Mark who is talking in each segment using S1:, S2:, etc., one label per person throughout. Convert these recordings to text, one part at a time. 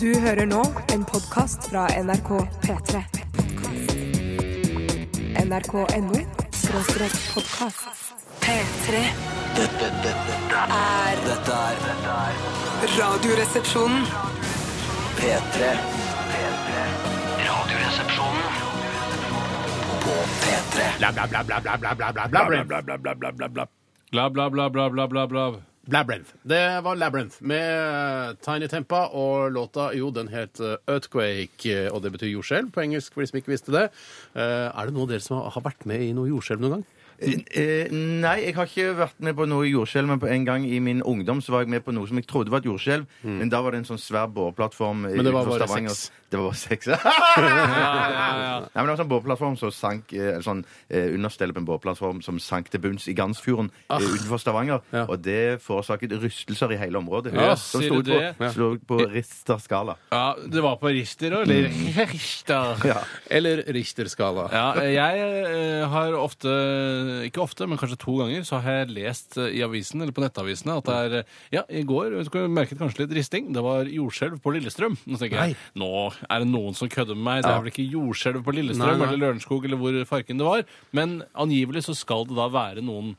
S1: Du hører nå en podkast fra NRK P3. NRK.no skråstrek podkast. P3
S2: Dette, dette, dette,
S1: er
S2: dette er dette er
S1: Radioresepsjonen.
S2: P3. P3. Radioresepsjonen på P3.
S3: Bla, bla, bla, bla, bla, bla, bla, bla, bla, bla,
S4: bla, bla, bla, bla, bla.
S5: Bla, bla, bla, bla, bla, bla, bla.
S3: Labyrinth. Det var Labyrinth med eh, Tiny Tempa, og låta jo, den het eh, Earthquake, eh, og det betyr jordskjelv på engelsk, for de som ikke visste det. Eh, Er det noen av dere som har- har vært med i noe jordskjelv noen gang?
S4: Eh, nei, jeg har ikke vært med på noe jordskjelv, men på en gang i min ungdom så var jeg med på noe som jeg trodde var et jordskjelv,
S5: Mm.
S4: men da var det en sånn svær bårplattform
S3: Men det var
S4: utenfor
S3: bare
S4: Stavanger.
S3: seks.
S4: Det var bare seks. Nei, men det var en sånn bårplattform som sank eh, en sånn eh, understell på en bårplattform som sank til bunns i Gansfjorden
S5: Ah.
S4: eh, utenfor Stavanger,
S3: Ja.
S4: og det forårsaket rystelser i hele området.
S5: Ja,
S4: som
S5: sier
S4: sto
S5: du
S4: på,
S5: det?
S4: slo på Richter skala.
S5: Ja, det var på Rister òg, eller Rister.
S4: Ja.
S3: Eller Richter-skala?
S5: Ja, jeg eh, har ofte, ikke ofte, men kanskje to ganger, så har jeg lest eh, i avisen, eller på nettavisene, at det er eh, Ja, i går vet du, jeg merket kanskje litt risting. Det var jordskjelv på Lillestrøm. Nå tenker jeg, nå er det noen som kødder med meg. Det er vel ikke jordskjelv på Lillestrøm
S3: Nei, nei.
S5: eller Lørenskog eller hvor farken det var. Men angivelig så skal det da være noen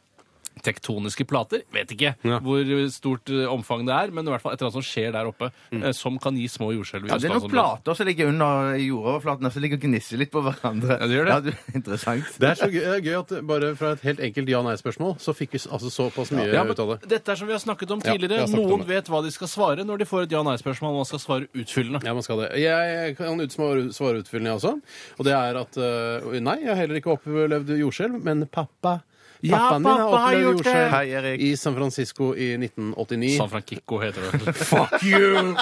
S5: tektoniske plater. Vet ikke
S3: Ja.
S5: hvor stort eh, omfang det er, men i hvert fall et eller annet som skjer der oppe, eh, som kan gi små jordskjelv. i
S4: Ja, det er noen
S5: østlandsområdet.
S4: plater som ligger under jordoverflaten, og som ligger og gnisser litt på hverandre.
S5: Ja, det gjør det.
S4: interessant.
S3: Det er så gøy, det er gøy at bare fra et helt enkelt ja-nei-spørsmål, så fikk vi s- altså såpass mye
S5: Ja, men
S3: ut av det.
S5: Dette er som vi har snakket om
S3: Ja, vi
S5: tidligere.
S3: har snakket om
S5: Noen
S3: det.
S5: vet hva de skal svare når de får et ja-nei-spørsmål. Man skal svare utfyllende.
S3: Ja, man skal det. Jeg kan ut- svare svare utfyllende, jeg også. Og det er at eh, Nei, jeg har heller ikke opplevd jordskjelv, men pappa
S5: Ja,
S3: Pappaen din har
S5: pappa har
S3: opplevd
S5: gjort det.
S3: jordskjelv
S4: Hei, Erik.
S3: i San Francisco i 1989.
S5: San Francisco heter det.
S3: Fuck you!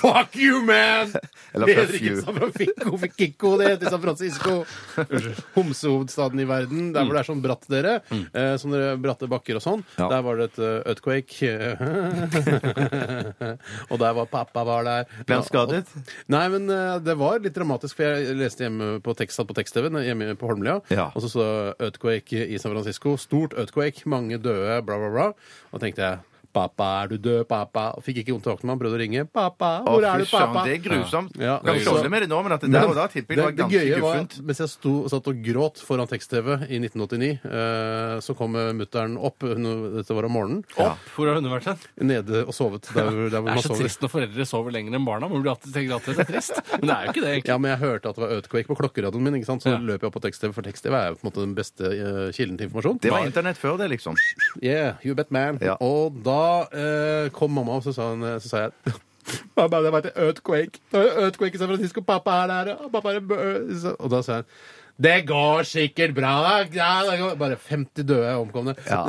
S3: Fuck you, man!
S4: Eller
S3: det heter
S4: fuck
S3: ikke
S4: you.
S3: San Francisco, for Kikko, det heter San Francisco. Homsehovedstaden i verden, der hvor det er sånn bratt, dere. Eh, sånne bratte bakker og sånn.
S4: Mm. Ja.
S3: Der var det et eh, earthquake. og der var pappa var der.
S4: Ble han skadet?
S3: Nei, men eh, det var litt dramatisk, for jeg leste hjemme på tekst, satt på tekst-TV hjemme på Holmlia,
S4: Ja.
S3: og så så earthquake i San Francisco. Stort earthquake, mange døde, bla, bla, bla. Og tenkte jeg Pappa, er du død, pappa? Og fikk ikke kontakt med han, prøvde å ringe. Pappa,
S4: Å,
S3: hvor
S4: fy
S3: er du,
S4: søren,
S3: pappa?
S4: Det er grusomt.
S3: Ja.
S4: Kan
S5: Det er
S4: vi
S5: grusomt.
S4: skåle med det nå, men at det der og da tipper jeg det var
S3: det
S4: ganske
S3: gøye var,
S4: guffent.
S3: mens jeg sto, satt og gråt foran tekst-TV i 1989, eh, så kom mutter'n opp, hun- dette var om morgenen,
S5: Opp. Hvor har hun vært hen?
S3: nede og sovet der, hvor- der hvor
S5: Det
S3: man
S5: er så
S3: sover.
S5: trist når foreldre sover lenger enn barna. Man blir alltid tenker alltid at det er trist. Men det er jo ikke det, egentlig.
S3: Ja, men jeg hørte at det var earthquake på klokkeradioen min, ikke sant? så
S5: Ja.
S3: løp jeg opp på tekst-TV, for tekst-TV er jo på en måte den beste eh, kilden til informasjon.
S4: Det var internett før det, liksom.
S3: Yeah, you bet man.
S4: Ja.
S3: Og da eh, kom mamma, og så sa, hun, så sa jeg Mamma, det var et earthquake. Det var et earthquake i San Francisco. Pappa er der. Og, pappa er en bø- så- og da sa hun det går sikkert bra! Ja, det går. Bare 50 døde omkomne.
S4: Ja.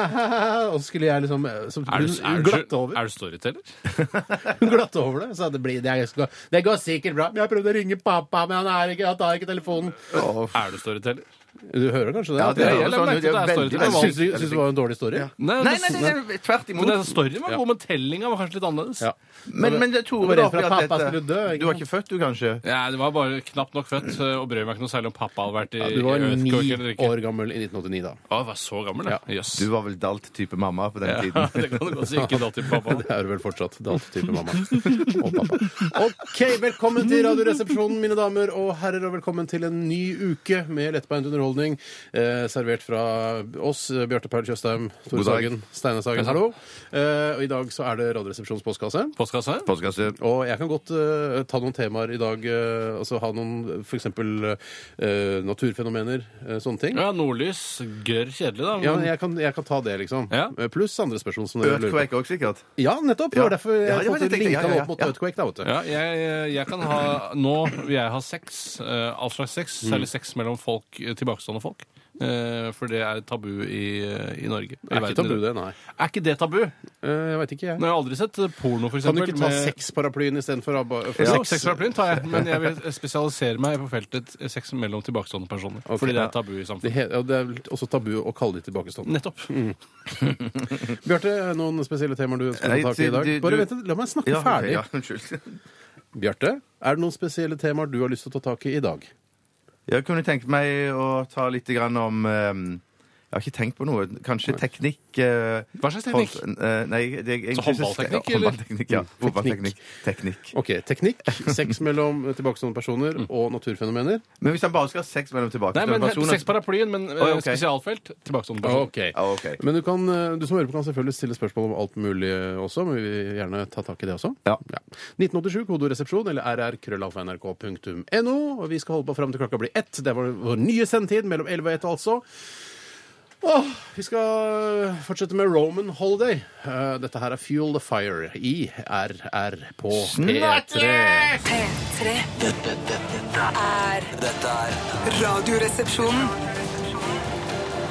S3: og så skulle jeg liksom så,
S5: Er du,
S3: Hun
S5: er du,
S3: glatte over.
S5: er du storyteller?
S3: Hun glatte over det. Sa det, blir, det, er- det går sikkert bra. Men jeg prøvde å ringe pappa, men han, er ikke, han tar ikke telefonen.
S5: Er du storyteller?
S3: Du hører kanskje det?
S4: Ja, det
S5: jeg
S4: høres
S5: la
S4: sånn
S5: merke
S4: ut.
S5: til
S4: Det
S5: at
S4: er
S5: det er
S4: veldig,
S5: storytelling.
S3: Syns
S4: veldig
S3: du, syns du det var en dårlig story?
S5: Nei,
S4: Nei, nei,
S5: det-
S4: nei, det er tvert
S5: men den
S4: imot.
S5: storyen var god, men tellinga var kanskje litt annerledes.
S3: Ja.
S4: Men, men det
S3: Det var
S4: Tore,
S3: det
S4: det er
S3: for at
S4: fordi at
S3: pappa
S4: dette
S3: skulle dø, ikke
S4: Du var ikke født, du, kanskje?
S5: Ja, det var bare knapt nok født, eh, og brød meg ikke noe særlig om pappa hadde vært i
S3: Ja, du var
S5: i
S3: ni
S5: earthquake eller ikke.
S3: år gammel i 1989 da.
S5: Å, jeg var så gammel, da. Jøs.
S4: Du var vel dalt type mamma på den
S5: Ja,
S4: tiden.
S5: det kan du godt si. Ikke da til pappa.
S3: Det er du vel fortsatt. Datatype mamma og pappa. OK, velkommen til Radioresepsjonen, mine damer og herrer, og velkommen til en ny uke med lettbeint underholdning. Eh, servert fra oss, eh, Bjarte Perl Tjøstheim, Tore
S4: God dag.
S3: Sagen, Steinar Sagen, hallo. Eh, og I dag så er det Radioresepsjonens postkasse.
S5: Postkasse?
S4: Postkasse.
S3: Og jeg kan godt eh, ta noen temaer i dag. eh, altså ha noen f.eks. Uh, naturfenomener, eh, sånne ting.
S5: Ja, nordlys. Gørr kjedelig, da.
S3: Ja,
S5: men-
S3: men jeg kan, jeg kan ta det, liksom.
S5: Ja.
S3: Eh, Pluss andre spørsmål som dere lurer på.
S4: Earthquake òg, sikkert.
S3: Ja, nettopp! Det var
S4: Ja.
S3: derfor jeg
S4: Ja, ja,
S3: på en måte
S4: jeg tenkte-
S3: linka
S4: ja, ja,
S3: det
S4: ja,
S3: opp mot
S4: ja.
S3: earthquake. da, vet du.
S5: Ja, jeg, jeg kan ha Nå vil jeg ha sex. Eh, all slags sex.
S3: Mm.
S5: Særlig sex mellom folk, eh, tilbakestående folk. Eh, for det er tabu i, i Norge.
S3: Det er ikke tabu, det, nei.
S5: Er ikke det tabu? Nå
S3: Eh, Jeg veit ikke, jeg.
S5: har jeg aldri sett eh, porno, for
S3: Kan du
S5: eksempel.
S3: ikke ta
S5: med-
S3: sexparaplyen istedenfor abba? for
S5: Jo,
S3: sex?
S5: Sexparaplyen tar jeg, men jeg vil spesialisere meg på feltet eh, sex mellom tilbakestående personer. fordi det er tabu i
S3: Det,
S5: samfunnet.
S3: he- ja, det er vel også tabu å kalle de tilbakestående.
S5: Nettopp.
S3: Mm. Bjarte, noen spesielle temaer du ønsker å
S4: Nei,
S3: ta tak i i dag?
S4: du- du-
S3: Bare vent, La meg snakke
S4: Ja, ok,
S3: ferdig.
S4: ja, unnskyld.
S3: Bjarte, er det noen spesielle temaer du har lyst til å ta tak i i dag?
S4: Jeg kunne tenkt meg å ta litt grann om eh, Jeg har ikke tenkt på noe. Kanskje teknikk eh,
S5: Hva slags teknikk?
S4: for- eh, nei, det, er egentlig-
S5: Så håndballteknikk, eller?
S4: Håndballteknikk, ja. Fotballteknikk. Teknikk.
S3: Ok, Teknikk, sex mellom tilbakestående personer
S4: Mm.
S3: og naturfenomener.
S4: Men hvis han bare skal ha sex mellom tilbake
S5: Nei, men Seks
S4: altså,
S5: paraplyen, men eh,
S4: ok.
S5: spesialfelt. Tilbakestående person.
S3: altså. Ok.
S4: Ja, Ah, ok.
S3: Men du, kan, eh, du som hører på, kan selvfølgelig stille spørsmål om alt mulig eh, også. Men vi vil gjerne ta tak i det også.
S4: Ja.
S3: 1987, kodoresepsjon eller rrkrøllalfa.nrk.no. Og vi skal holde på fram til klokka blir ett. Det er vår, vår nye sendetid mellom 11 og 1, altså. Åh, vi skal fortsette med Roman Holiday. Eh, dette her er Fuel the Fire i RR på P3.
S1: P3
S2: Dette, dette, dette,
S1: er
S2: dette er
S1: Radioresepsjonen.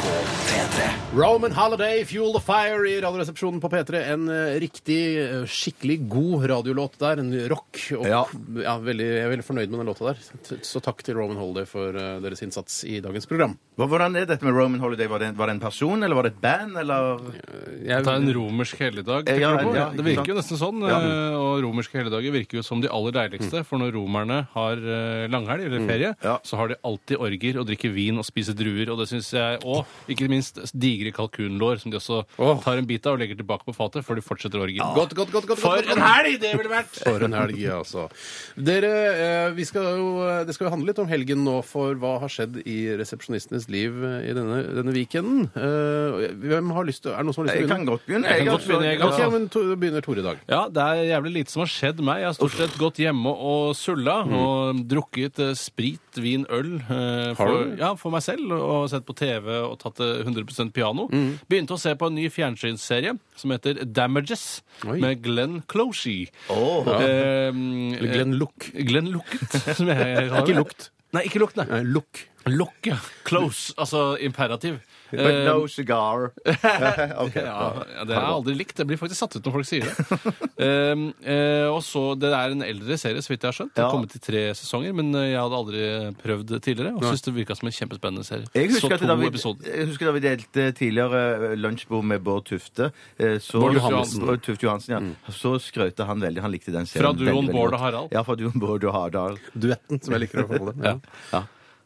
S2: P3.
S3: Roman Holiday, Fuel the Fire i Radioresepsjonen på P3. En eh, riktig, eh, skikkelig god radiolåt der. En rock. Og, ja.
S4: Ja.
S3: veldig, jeg er veldig fornøyd med den låta der. Så- Så takk til Roman Holiday for eh, deres innsats i dagens program.
S4: Hva- Hvordan er dette med Roman Holiday? Var det, en- var det en person, eller var det et band, eller
S5: Det er en romersk helligdag.
S4: Eh, ja,
S5: tenker du på?
S4: ja,
S5: det
S4: ikke
S5: virker jo nesten sånn. eh, Og romerske helligdager virker jo som de aller deiligste. For når romerne har eh, langhelg eller ferie,
S4: Mm. Ja.
S5: så har de alltid orger og drikker vin og spiser druer. Og det syns jeg Og ikke minst digre kalkunlår, som de også
S3: Åh.
S5: tar en bit av og legger tilbake på fatet før de fortsetter orgien.
S3: Godt, godt, godt, godt,
S5: For
S3: godt, godt.
S5: en helg det ville vært!
S3: For en helg, ja, altså. Dere, eh, vi skal jo, eh, det skal jo handle litt om helgen nå, for hva har skjedd i resepsjonistenes liv eh, i denne, denne weekenden? Eh, hvem har lyst til, er det noen som har lyst
S4: Jeg
S3: til å
S4: kan
S3: begynne?
S4: godt begynne.
S5: Jeg kan
S4: har
S5: godt begynne, jeg
S4: så-
S5: kan-
S3: Ok, men to, begynner Tore i dag.
S5: Ja, det er jævlig lite som har skjedd meg. Jeg har stort sett gått hjemme og sulla
S3: Mm.
S5: og drukket eh, sprit, vin, øl eh, for,
S3: du?
S5: ja, for meg selv og sett på TV og tatt eh, 100 piano.
S3: Mm.
S5: Begynte å se på en ny fjernsynsserie som heter Damages
S3: Oi.
S5: med Glenn Closhy.
S4: Åh.
S5: Eh,
S3: Eller Glenn Lukk.
S5: Glenn Lukket, som jeg kaller
S3: Ikke
S5: det.
S3: lukt.
S5: Nei, ikke lukt, nei.
S3: Nei, Lukk.
S5: Lukk, ja. Close, altså imperativ.
S4: But
S5: Eh,
S4: no cigar. Ok,
S5: ja,
S4: bra.
S5: ja, det er aldri likt. Det blir faktisk satt ut når folk sier det. um, eh, og så, Det er en eldre serie, så vidt jeg har skjønt. Det
S4: Ja.
S5: har kommet i tre sesonger, men eh, jeg hadde aldri prøvd det tidligere. Og synes det virka som en kjempespennende serie.
S4: Jeg husker,
S5: så
S4: at
S5: to
S4: da vi,
S5: episoder.
S4: jeg husker da vi delte tidligere eh, lunsjbord med Bård Tufte. eh, Så,
S5: Bård Johansen.
S4: Bård Tufte Johansen, ja. Så skrøt han veldig. Han likte den serien.
S5: Fra duoen
S4: veldig, veldig
S5: Bård og
S4: godt.
S5: Harald.
S4: Ja, fra duoen Bård og Hardal.
S3: Duetten, som jeg liker å kalle det. Ja.
S4: Ja,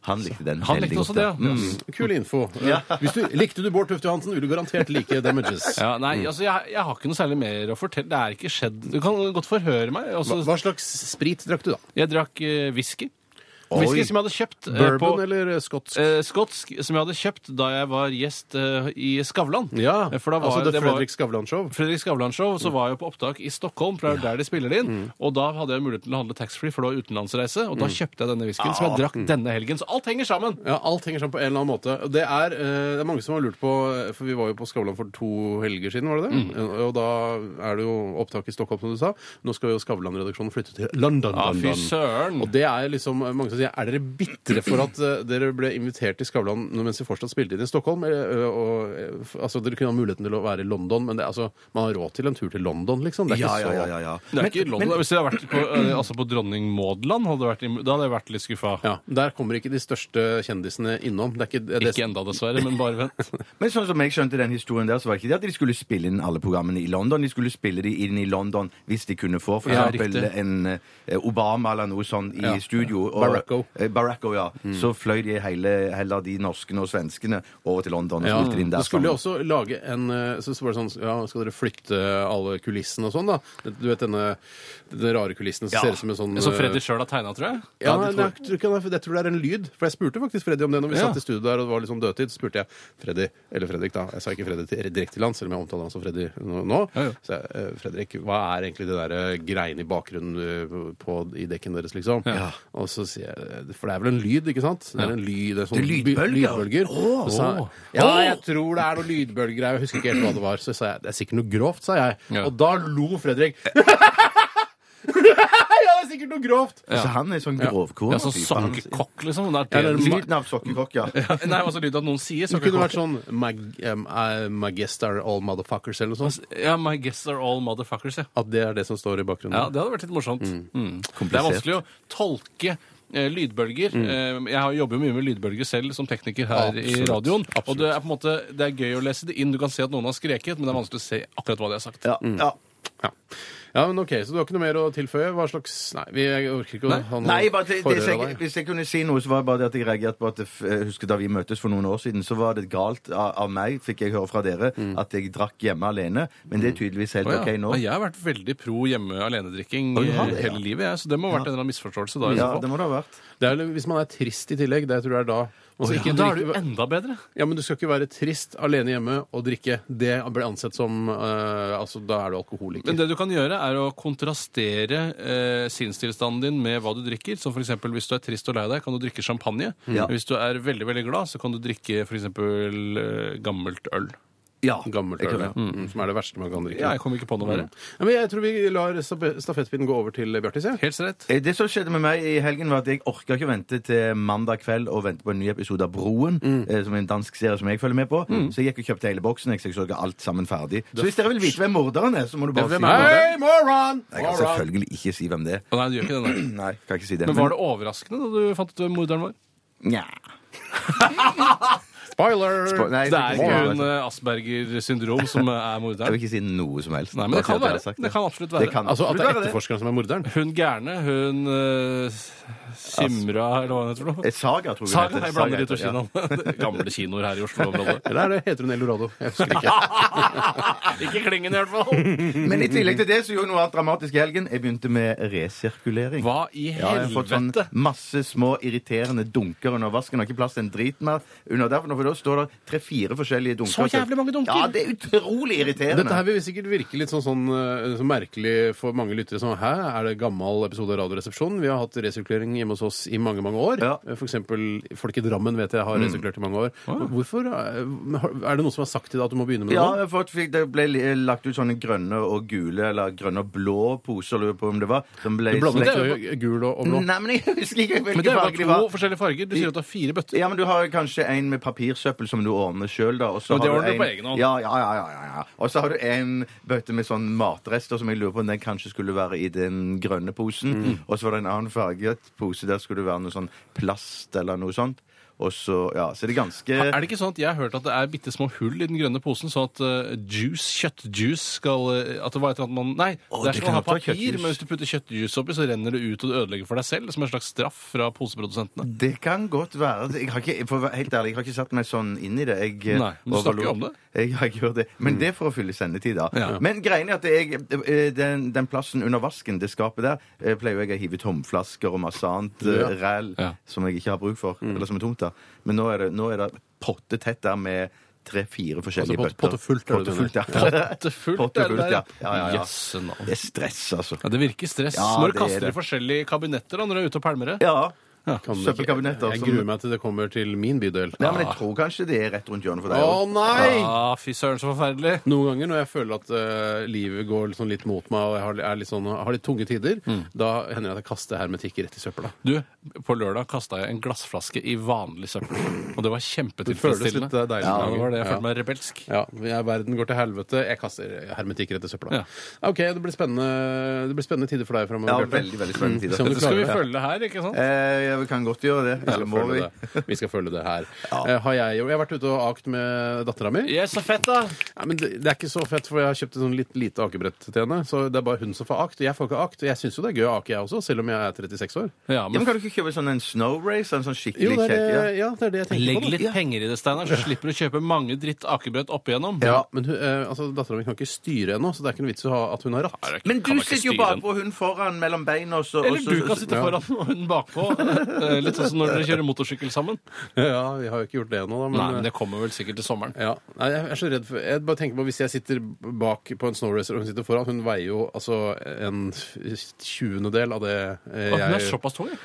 S4: han likte den
S5: Han
S4: veldig
S5: likte også
S4: godt.
S5: det,
S4: ja.
S5: ja.
S4: Mm.
S3: Kul info. Hvis du, likte du Bård Tufte Johansen, ville du garantert like Damages.
S5: Ja, nei, altså, jeg, jeg har ikke noe særlig mer å fortelle. Det er ikke skjedd. Du kan godt forhøre meg.
S3: Hva,
S5: Altså,
S3: hva slags sprit drakk du, da?
S5: Jeg drakk eh, whisky.
S4: Oi.
S5: Whisky som jeg hadde kjøpt eh, på
S3: Bourbon eller skotsk?
S5: eh, skotsk, som jeg hadde kjøpt da jeg var gjest eh, i Skavlan.
S3: Ja,
S5: eh, For da var,
S3: altså det
S5: det var-
S3: Fredrik Skavlan-show.
S5: Fredrik Skavlan-show,
S3: Mm.
S5: så var jeg på opptak i Stockholm, for det er jo der de spiller det inn. Og da hadde jeg mulighet til å handle taxfree, for det var utenlandsreise. Og da
S3: Mm.
S5: kjøpte jeg denne whiskyen,
S3: Ah.
S5: som jeg drakk denne helgen. Så alt henger sammen!
S3: Ja, alt henger sammen på en eller annen måte. Og Det er, eh, det er mange som har lurt på eh, For vi var jo på Skavlan for to helger siden, var det
S5: Mm.
S3: det? Eh, Og da er det jo opptak i Stockholm, som du sa. Nå skal jo Skavlan-redaksjonen flytte til London.
S5: Ja, Ah, fy
S3: London.
S5: søren!
S3: Og det er liksom eh, mange som sier Er dere bitre for at eh, dere ble invitert til Skavlan når- mens vi fortsatt spilte inn i Stockholm? Eh, eh, og, eh, f- altså, dere kunne ha muligheten til å være i London, men det, er altså, man har råd til en tur til London, liksom. Det er
S4: Ja,
S3: ikke
S4: ja,
S3: så
S4: ja, ja, ja.
S5: Det er ikke i London. Hvis jeg hadde vært på, eh, altså på Dronning Maud land, hadde det vært i- da hadde jeg vært litt skuffa.
S3: Ja, Der kommer ikke de største kjendisene innom. Det er ikke, det er det
S5: Ikke enda, dessverre, men bare vent.
S4: Men sånn som jeg skjønte den historien der, så var ikke det at de skulle spille inn alle programmene i London. De skulle spille de inn i London hvis de kunne få for
S5: Ja,
S4: eksempel
S5: riktig.
S4: en eh, Obama eller noe sånt i
S3: Ja.
S4: studio.
S3: Baracko.
S4: eh, Baracko, ja.
S5: Mm.
S4: Så fløy de hele, heller de norskene og svenskene over til London og
S3: Ja,
S4: spilte inn der
S3: det skulle jo
S4: sammen.
S3: også lage en eh, Så så var det sånn Ja, skal dere flytte alle kulissene og sånn, da? Du vet denne den rare kulissen som
S4: Ja.
S3: ser ut som en sånn
S5: Som
S3: eh,
S5: Freddy sjøl har tegna, tror jeg.
S3: ja,
S4: Ja, det
S3: nei, jeg, tror ikke han er- jeg tror det er en lyd. For jeg spurte faktisk Freddy om det når
S5: Ja.
S3: vi satt i studio der og det var litt sånn dødtid. Så spurte jeg Freddy, eller Fredrik, da. Jeg sa ikke Freddy til- direkte til han, selv om jeg omtaler han som Freddy nå. nå.
S5: Ja, ja.
S3: Så jeg, eh, Fredrik, hva er egentlig det der eh, greiene i bakgrunnen eh, på, i dekken deres, liksom?
S5: Ja.
S3: Og så sier jeg For det er vel en lyd, ikke sant? Det er en lyd, det er sånn
S4: Det er lydbølger.
S3: lydbølger. Så sa jeg,
S5: Åh.
S3: ja, jeg tror det er noe lydbølgegreier. Jeg husker ikke helt hva det var. Så sa jeg det er sikkert noe grovt, sa jeg.
S5: Ja.
S3: Og da lo Fredrik. ja, det er sikkert noe grovt!
S4: Så han er sånn grovkorn.
S5: Ja, sånn sokkekokk, liksom. Det er det.
S4: Lyden av sokkekokk, ja.
S5: Nei, altså lyden av at noen sier
S3: Det kunne vært
S5: sokkekokk.
S3: sånn mag, um, uh, Magestar all motherfuckers eller noe sånt.
S5: Ja, my guests are all motherfuckers, ja.
S3: At det er det som står i bakgrunnen.
S5: Ja, det hadde vært litt morsomt. Mm. Det er
S4: Komplisert. Mm.
S5: vanskelig å tolke eh, lydbølger. Eh, Jeg har- jobber jo mye med lydbølger selv som tekniker her i
S3: Absolutt.
S5: radioen. Og
S3: Absolutt.
S5: det er på en måte det er gøy å lese det inn. Du kan se at noen har skreket, men det er vanskelig å se akkurat hva de har sagt.
S4: ja, ja.
S3: Ja. Ja, men ok, Så du har ikke noe mer å tilføye? Hva slags Nei, vi jeg orker ikke å ha noe
S4: Nei, bare det, det,
S3: forhør av
S4: jeg,
S3: deg.
S4: hvis jeg kunne si noe, så var det bare det at jeg reagerte på at det, f- jeg husker da vi møttes for noen år siden, så var det galt av, av meg, fikk jeg høre fra dere, at jeg drakk hjemme alene. Men det er tydeligvis helt
S5: Mm. Å, ja.
S4: OK nå.
S5: Nei, Jeg har vært veldig pro hjemme alene-drikking
S4: du har
S5: eh,
S4: det, ja.
S5: hele livet, jeg, så det må ha vært en eller annen misforståelse. da. i
S4: Ja,
S5: så fall.
S4: det må det ha vært.
S3: Det er, jo- hvis man er trist i tillegg, det tror jeg er da Man
S5: Å,
S3: skal
S5: ja,
S3: ikke
S5: da er
S3: drikke-
S5: du enda bedre.
S3: Ja, men du skal ikke være trist alene hjemme og drikke. Det blir ansett som eh, Altså, da er du alkoholiker.
S5: Men det du kan gjøre, er å kontrastere eh, sinnstilstanden din med hva du drikker. Som for eksempel hvis du er trist og lei deg, kan du drikke champagne.
S4: Ja.
S5: Hvis du er veldig veldig glad, så kan du drikke for eksempel eh, gammelt øl.
S4: Ja.
S3: Gammelt
S4: jeg
S3: øl,
S4: kan-
S3: ja. mm. som er det verste man kan drikke.
S5: Ja, jeg kom ikke på noe verre.
S3: Ja, men jeg tror vi lar stabe- stafettpinnen gå over til Bjartis. jeg.
S5: Helt rett.
S4: Eh, Det som skjedde med meg i helgen, var at jeg orka ikke vente til mandag kveld og vente på en ny episode av Broen,
S5: Mm.
S4: eh, som er en dansk serie som jeg følger med på. Så jeg gikk og kjøpte hele boksen. Jeg så jeg så alt sammen ferdig. Så hvis dere vil vite hvem morderen er, så må du bare si det.
S3: Hei, moron!
S4: Jeg kan
S3: Moron!
S4: selvfølgelig ikke si hvem det er.
S5: Å, Nei, du gjør ikke det. Nei.
S4: Nei, kan ikke si det.
S5: Men var det overraskende da du fant ut hvem morderen var?
S4: Nja.
S3: Spoiler!
S4: Spo- nei,
S5: Det er
S4: ikke
S5: ikke
S4: moron.
S5: hun eh, Asperger-syndrom som eh, er
S4: Jeg
S5: morderen.
S4: vil ikke si noe som helst.
S5: Nei, men det kan
S4: Bare si
S5: være.
S4: at
S5: Det
S4: jeg har
S5: kan
S4: sagt
S5: absolutt være.
S4: Det kan
S3: Altså at det er
S4: absolutt være det.
S3: etterforskeren som er morderen?
S5: Hun gærne, hun eh, Simra, eller hva hun heter for noe?
S4: Eh, Saga, tror jeg. hun
S5: Saga,
S4: heter.
S5: jeg blander ut av
S4: heter- ja.
S5: kinoene. Gamle kinoer her i Oslo-området.
S3: Eller er det, heter hun Eldorado? Jeg husker ikke.
S5: Ikke klingen, i hvert fall!
S4: Mm. Men i tillegg til det så gjorde jeg noe annet dramatisk i helgen. Jeg begynte med resirkulering.
S5: Hva i
S4: Ja, jeg har fått sånn
S5: helvete?
S4: masse små irriterende dunker under vasken. Har ikke plass til en drit mer under der. for nå- For da står det tre-fire forskjellige dunker.
S5: Så jævlig mange dunker!
S4: Ja, det er utrolig irriterende.
S3: Dette her vil sikkert virke litt sånn, sånn, eh, så merkelig for mange lyttere. Som, Hæ, er det gammel episode av Radioresepsjonen? Vi har hatt resirkulering hjemme hos oss i mange mange år.
S4: Ja.
S3: Eh, For eksempel folk i Drammen vet jeg har resirkulert i mange år. Hvorfor? eh, har- Er det noen som har sagt til deg at du må begynne med det?
S4: Ja,
S3: nå?
S4: jeg har fått- fikk- det ble li- lagt ut sånne grønne og gule, eller grønne og blå poser, lurer på om det var. Som ble
S3: Du blandet
S4: slekt-
S3: jo gul og, og blå.
S4: Nei, men jeg husker sånn ikke
S5: Men
S4: hvilken
S5: det er
S4: farge de
S5: jo
S4: var.
S5: bare to forskjellige farger. Du sier at du har fire bøtter.
S4: Ja, men du har kanskje en med papirsøppel som du ordner sjøl, da. Og så
S5: Og det
S4: har
S5: ordner du
S4: en-
S5: på egen hånd.
S4: Ja, ja, ja, ja, ja, ja. Og så har du en bøtte med sånn matrester som jeg lurer på om den kanskje skulle være i den grønne posen.
S5: Mm.
S4: Og så var det en annen farget pose, der skulle det være noe sånn plast eller noe sånt. Og så, ja, så det er ganske
S5: Er det ikke sånn at jeg har hørt at det er bitte små hull i den grønne posen, sånn at eh, juice, kjøttjuice skal eh, At det var et eller annet man Nei, det
S4: det
S5: er som å
S4: kan
S5: ha
S4: godt være
S5: papir,
S4: kjøttjuice.
S5: men hvis du putter kjøttjuice oppi, så renner det ut og det ødelegger for deg selv, som en slags straff fra poseprodusentene.
S4: Det kan godt være. Jeg har ikke, for å være helt ærlig, jeg har ikke satt meg sånn inn i det. Jeg,
S5: Nei, men du
S4: overlot-
S5: snakker jo om det. Mm.
S4: Jeg, jeg gjør det. Men det er for å fylle sendetid, da.
S5: Ja.
S4: Men greien er at jeg, eh, den, den plassen under vasken, det skapet der, eh, pleier jeg å hive tomflasker og masse annet eh, ræl
S5: Ja. Mm.
S4: som jeg ikke har bruk for, eller som er tomt, da. Men nå er det, nå er det pottetett der med tre-fire forskjellige
S3: Altså, pot-
S4: bøtter.
S3: pottefullt, er det det
S4: Pottefullt, ja.
S5: Pottefullt, er det
S4: Pottefullt,
S5: der,
S4: ja. Ja, ja, ja.
S5: Jøsse navn.
S4: Det er stress, altså.
S5: Ja, det virker stress.
S4: Ja,
S5: Når
S4: det
S5: du
S4: er
S5: kaster i
S4: det.
S5: forskjellige kabinetter da, når du er ute og pælmer det.
S4: Ja.
S3: Kan det ikke-
S4: Søppelkabinetter.
S3: Jeg altså.
S4: som-
S3: gruer meg til det kommer til min bydel.
S4: Nei, men jeg tror kanskje det er rett rundt hjørnet for deg.
S3: Å
S4: også.
S3: nei!
S5: Ah, fy søren, så forferdelig.
S3: Noen ganger når jeg føler at eh, livet går sånn litt mot meg, og jeg har, er litt sånn, har litt tunge tider, da hender det at jeg kaster hermetikk rett i søpla.
S5: Du, på lørdag kasta jeg en glassflaske i vanlig søppel. Og det var kjempetilfredsstillende.
S3: Det føles litt, eh, deilig.
S5: Ja, det var det. Jeg
S3: Ja.
S5: følte meg rebelsk.
S3: Ja, vi er- Verden går til helvete. Jeg kaster hermetikk rett i søpla.
S5: Ja.
S3: OK, det blir spennende, det blir spennende tider for deg
S4: Ja,
S3: framover.
S4: veldig, veldig spennende tider.
S3: Se om du
S5: Dette skal
S3: klarer
S5: vi
S3: det.
S5: følge her, ikke sant?
S4: Eh, ja, vi kan godt gjøre det.
S3: Ja,
S4: Eller må vi?
S3: følge det. vi skal følge det her. Eh, har jeg, jo- jeg har vært ute og akt med dattera mi.
S5: Yes, så fett, da!
S3: Nei, men det, det er ikke så fett, for jeg har kjøpt et sånn litt lite akebrett til henne. Så det er bare hun som får akt. og Jeg får ikke akt. og Jeg syns jo det er gøy å ake, jeg også, selv om jeg er 36 år.
S5: Ja,
S4: Ja, men
S5: men eh,
S4: kan du ikke kjøpe sånn en snow race? En sånn skikkelig
S3: Jo, det
S4: kjekk?
S3: er det,
S4: Ja.
S3: ja, det er det jeg tenker på.
S5: Legg
S3: da.
S5: litt penger i det, Steinar, så slipper du å kjøpe mange dritt akebrød opp igjennom.
S3: Ja, men hun, eh, altså, dattera mi kan ikke styre ennå, så det er ikke noe vits i å ha at hun har ratt.
S4: Men du sitter jo bakpå hun foran mellom beina. og så- og
S5: Eller
S4: så-
S5: du kan sitte
S3: ja.
S5: foran og hun bakpå. Eh, Litt sånn som når dere kjører motorsykkel sammen.
S3: Ja, vi har jo ikke gjort det ennå, da. Men, eh,
S5: Nei, men det kommer vel sikkert til sommeren.
S3: ja. Nei, jeg er så redd for Jeg bare tenker på Hvis jeg sitter bak på en snowracer og hun sitter foran Hun veier jo altså en tjuendedel av det eh,
S5: Å, Hun er
S3: jeg
S5: såpass tung, ja.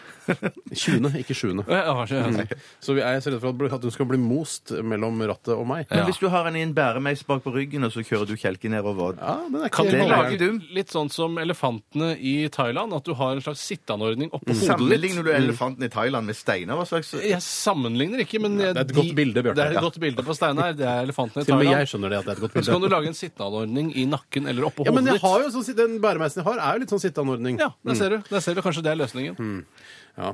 S3: Tjuende, ikke sjuende.
S5: Ja, ja, ja, ja.
S3: Så vi er så redd for at- at hun skal bli most mellom rattet og meg.
S4: Men hvis du har en i en bæremeis bak på ryggen, og så kjører du kjelken nedover
S3: Ja, men det er
S5: Kan
S3: ikke
S5: du
S4: Det lager
S5: lage
S4: dum.
S5: litt sånn som elefantene i Thailand? At du har en slags sitteanordning oppå
S3: Mm.
S5: hodet ditt?
S4: Sammenligner du elefanten i Thailand med steiner? Hva slags
S5: Jeg sammenligner ikke, men
S3: det er et godt bilde, Bjarte.
S5: Det er et
S3: Ja.
S5: godt bilde på Steinar. Det er elefantene i
S3: Til og med
S5: Thailand.
S3: jeg skjønner det at det er et godt
S5: Så kan du
S3: bilde.
S5: lage en sitteanordning i nakken eller oppå
S3: Ja, men
S5: hodet ditt.
S3: jeg har jo sånn, den bæremeisen jeg har, er jo litt sånn sitteanordning. Mm.
S5: Ja, der ser du. Der ser du. Kanskje det er løsningen.
S3: Ja.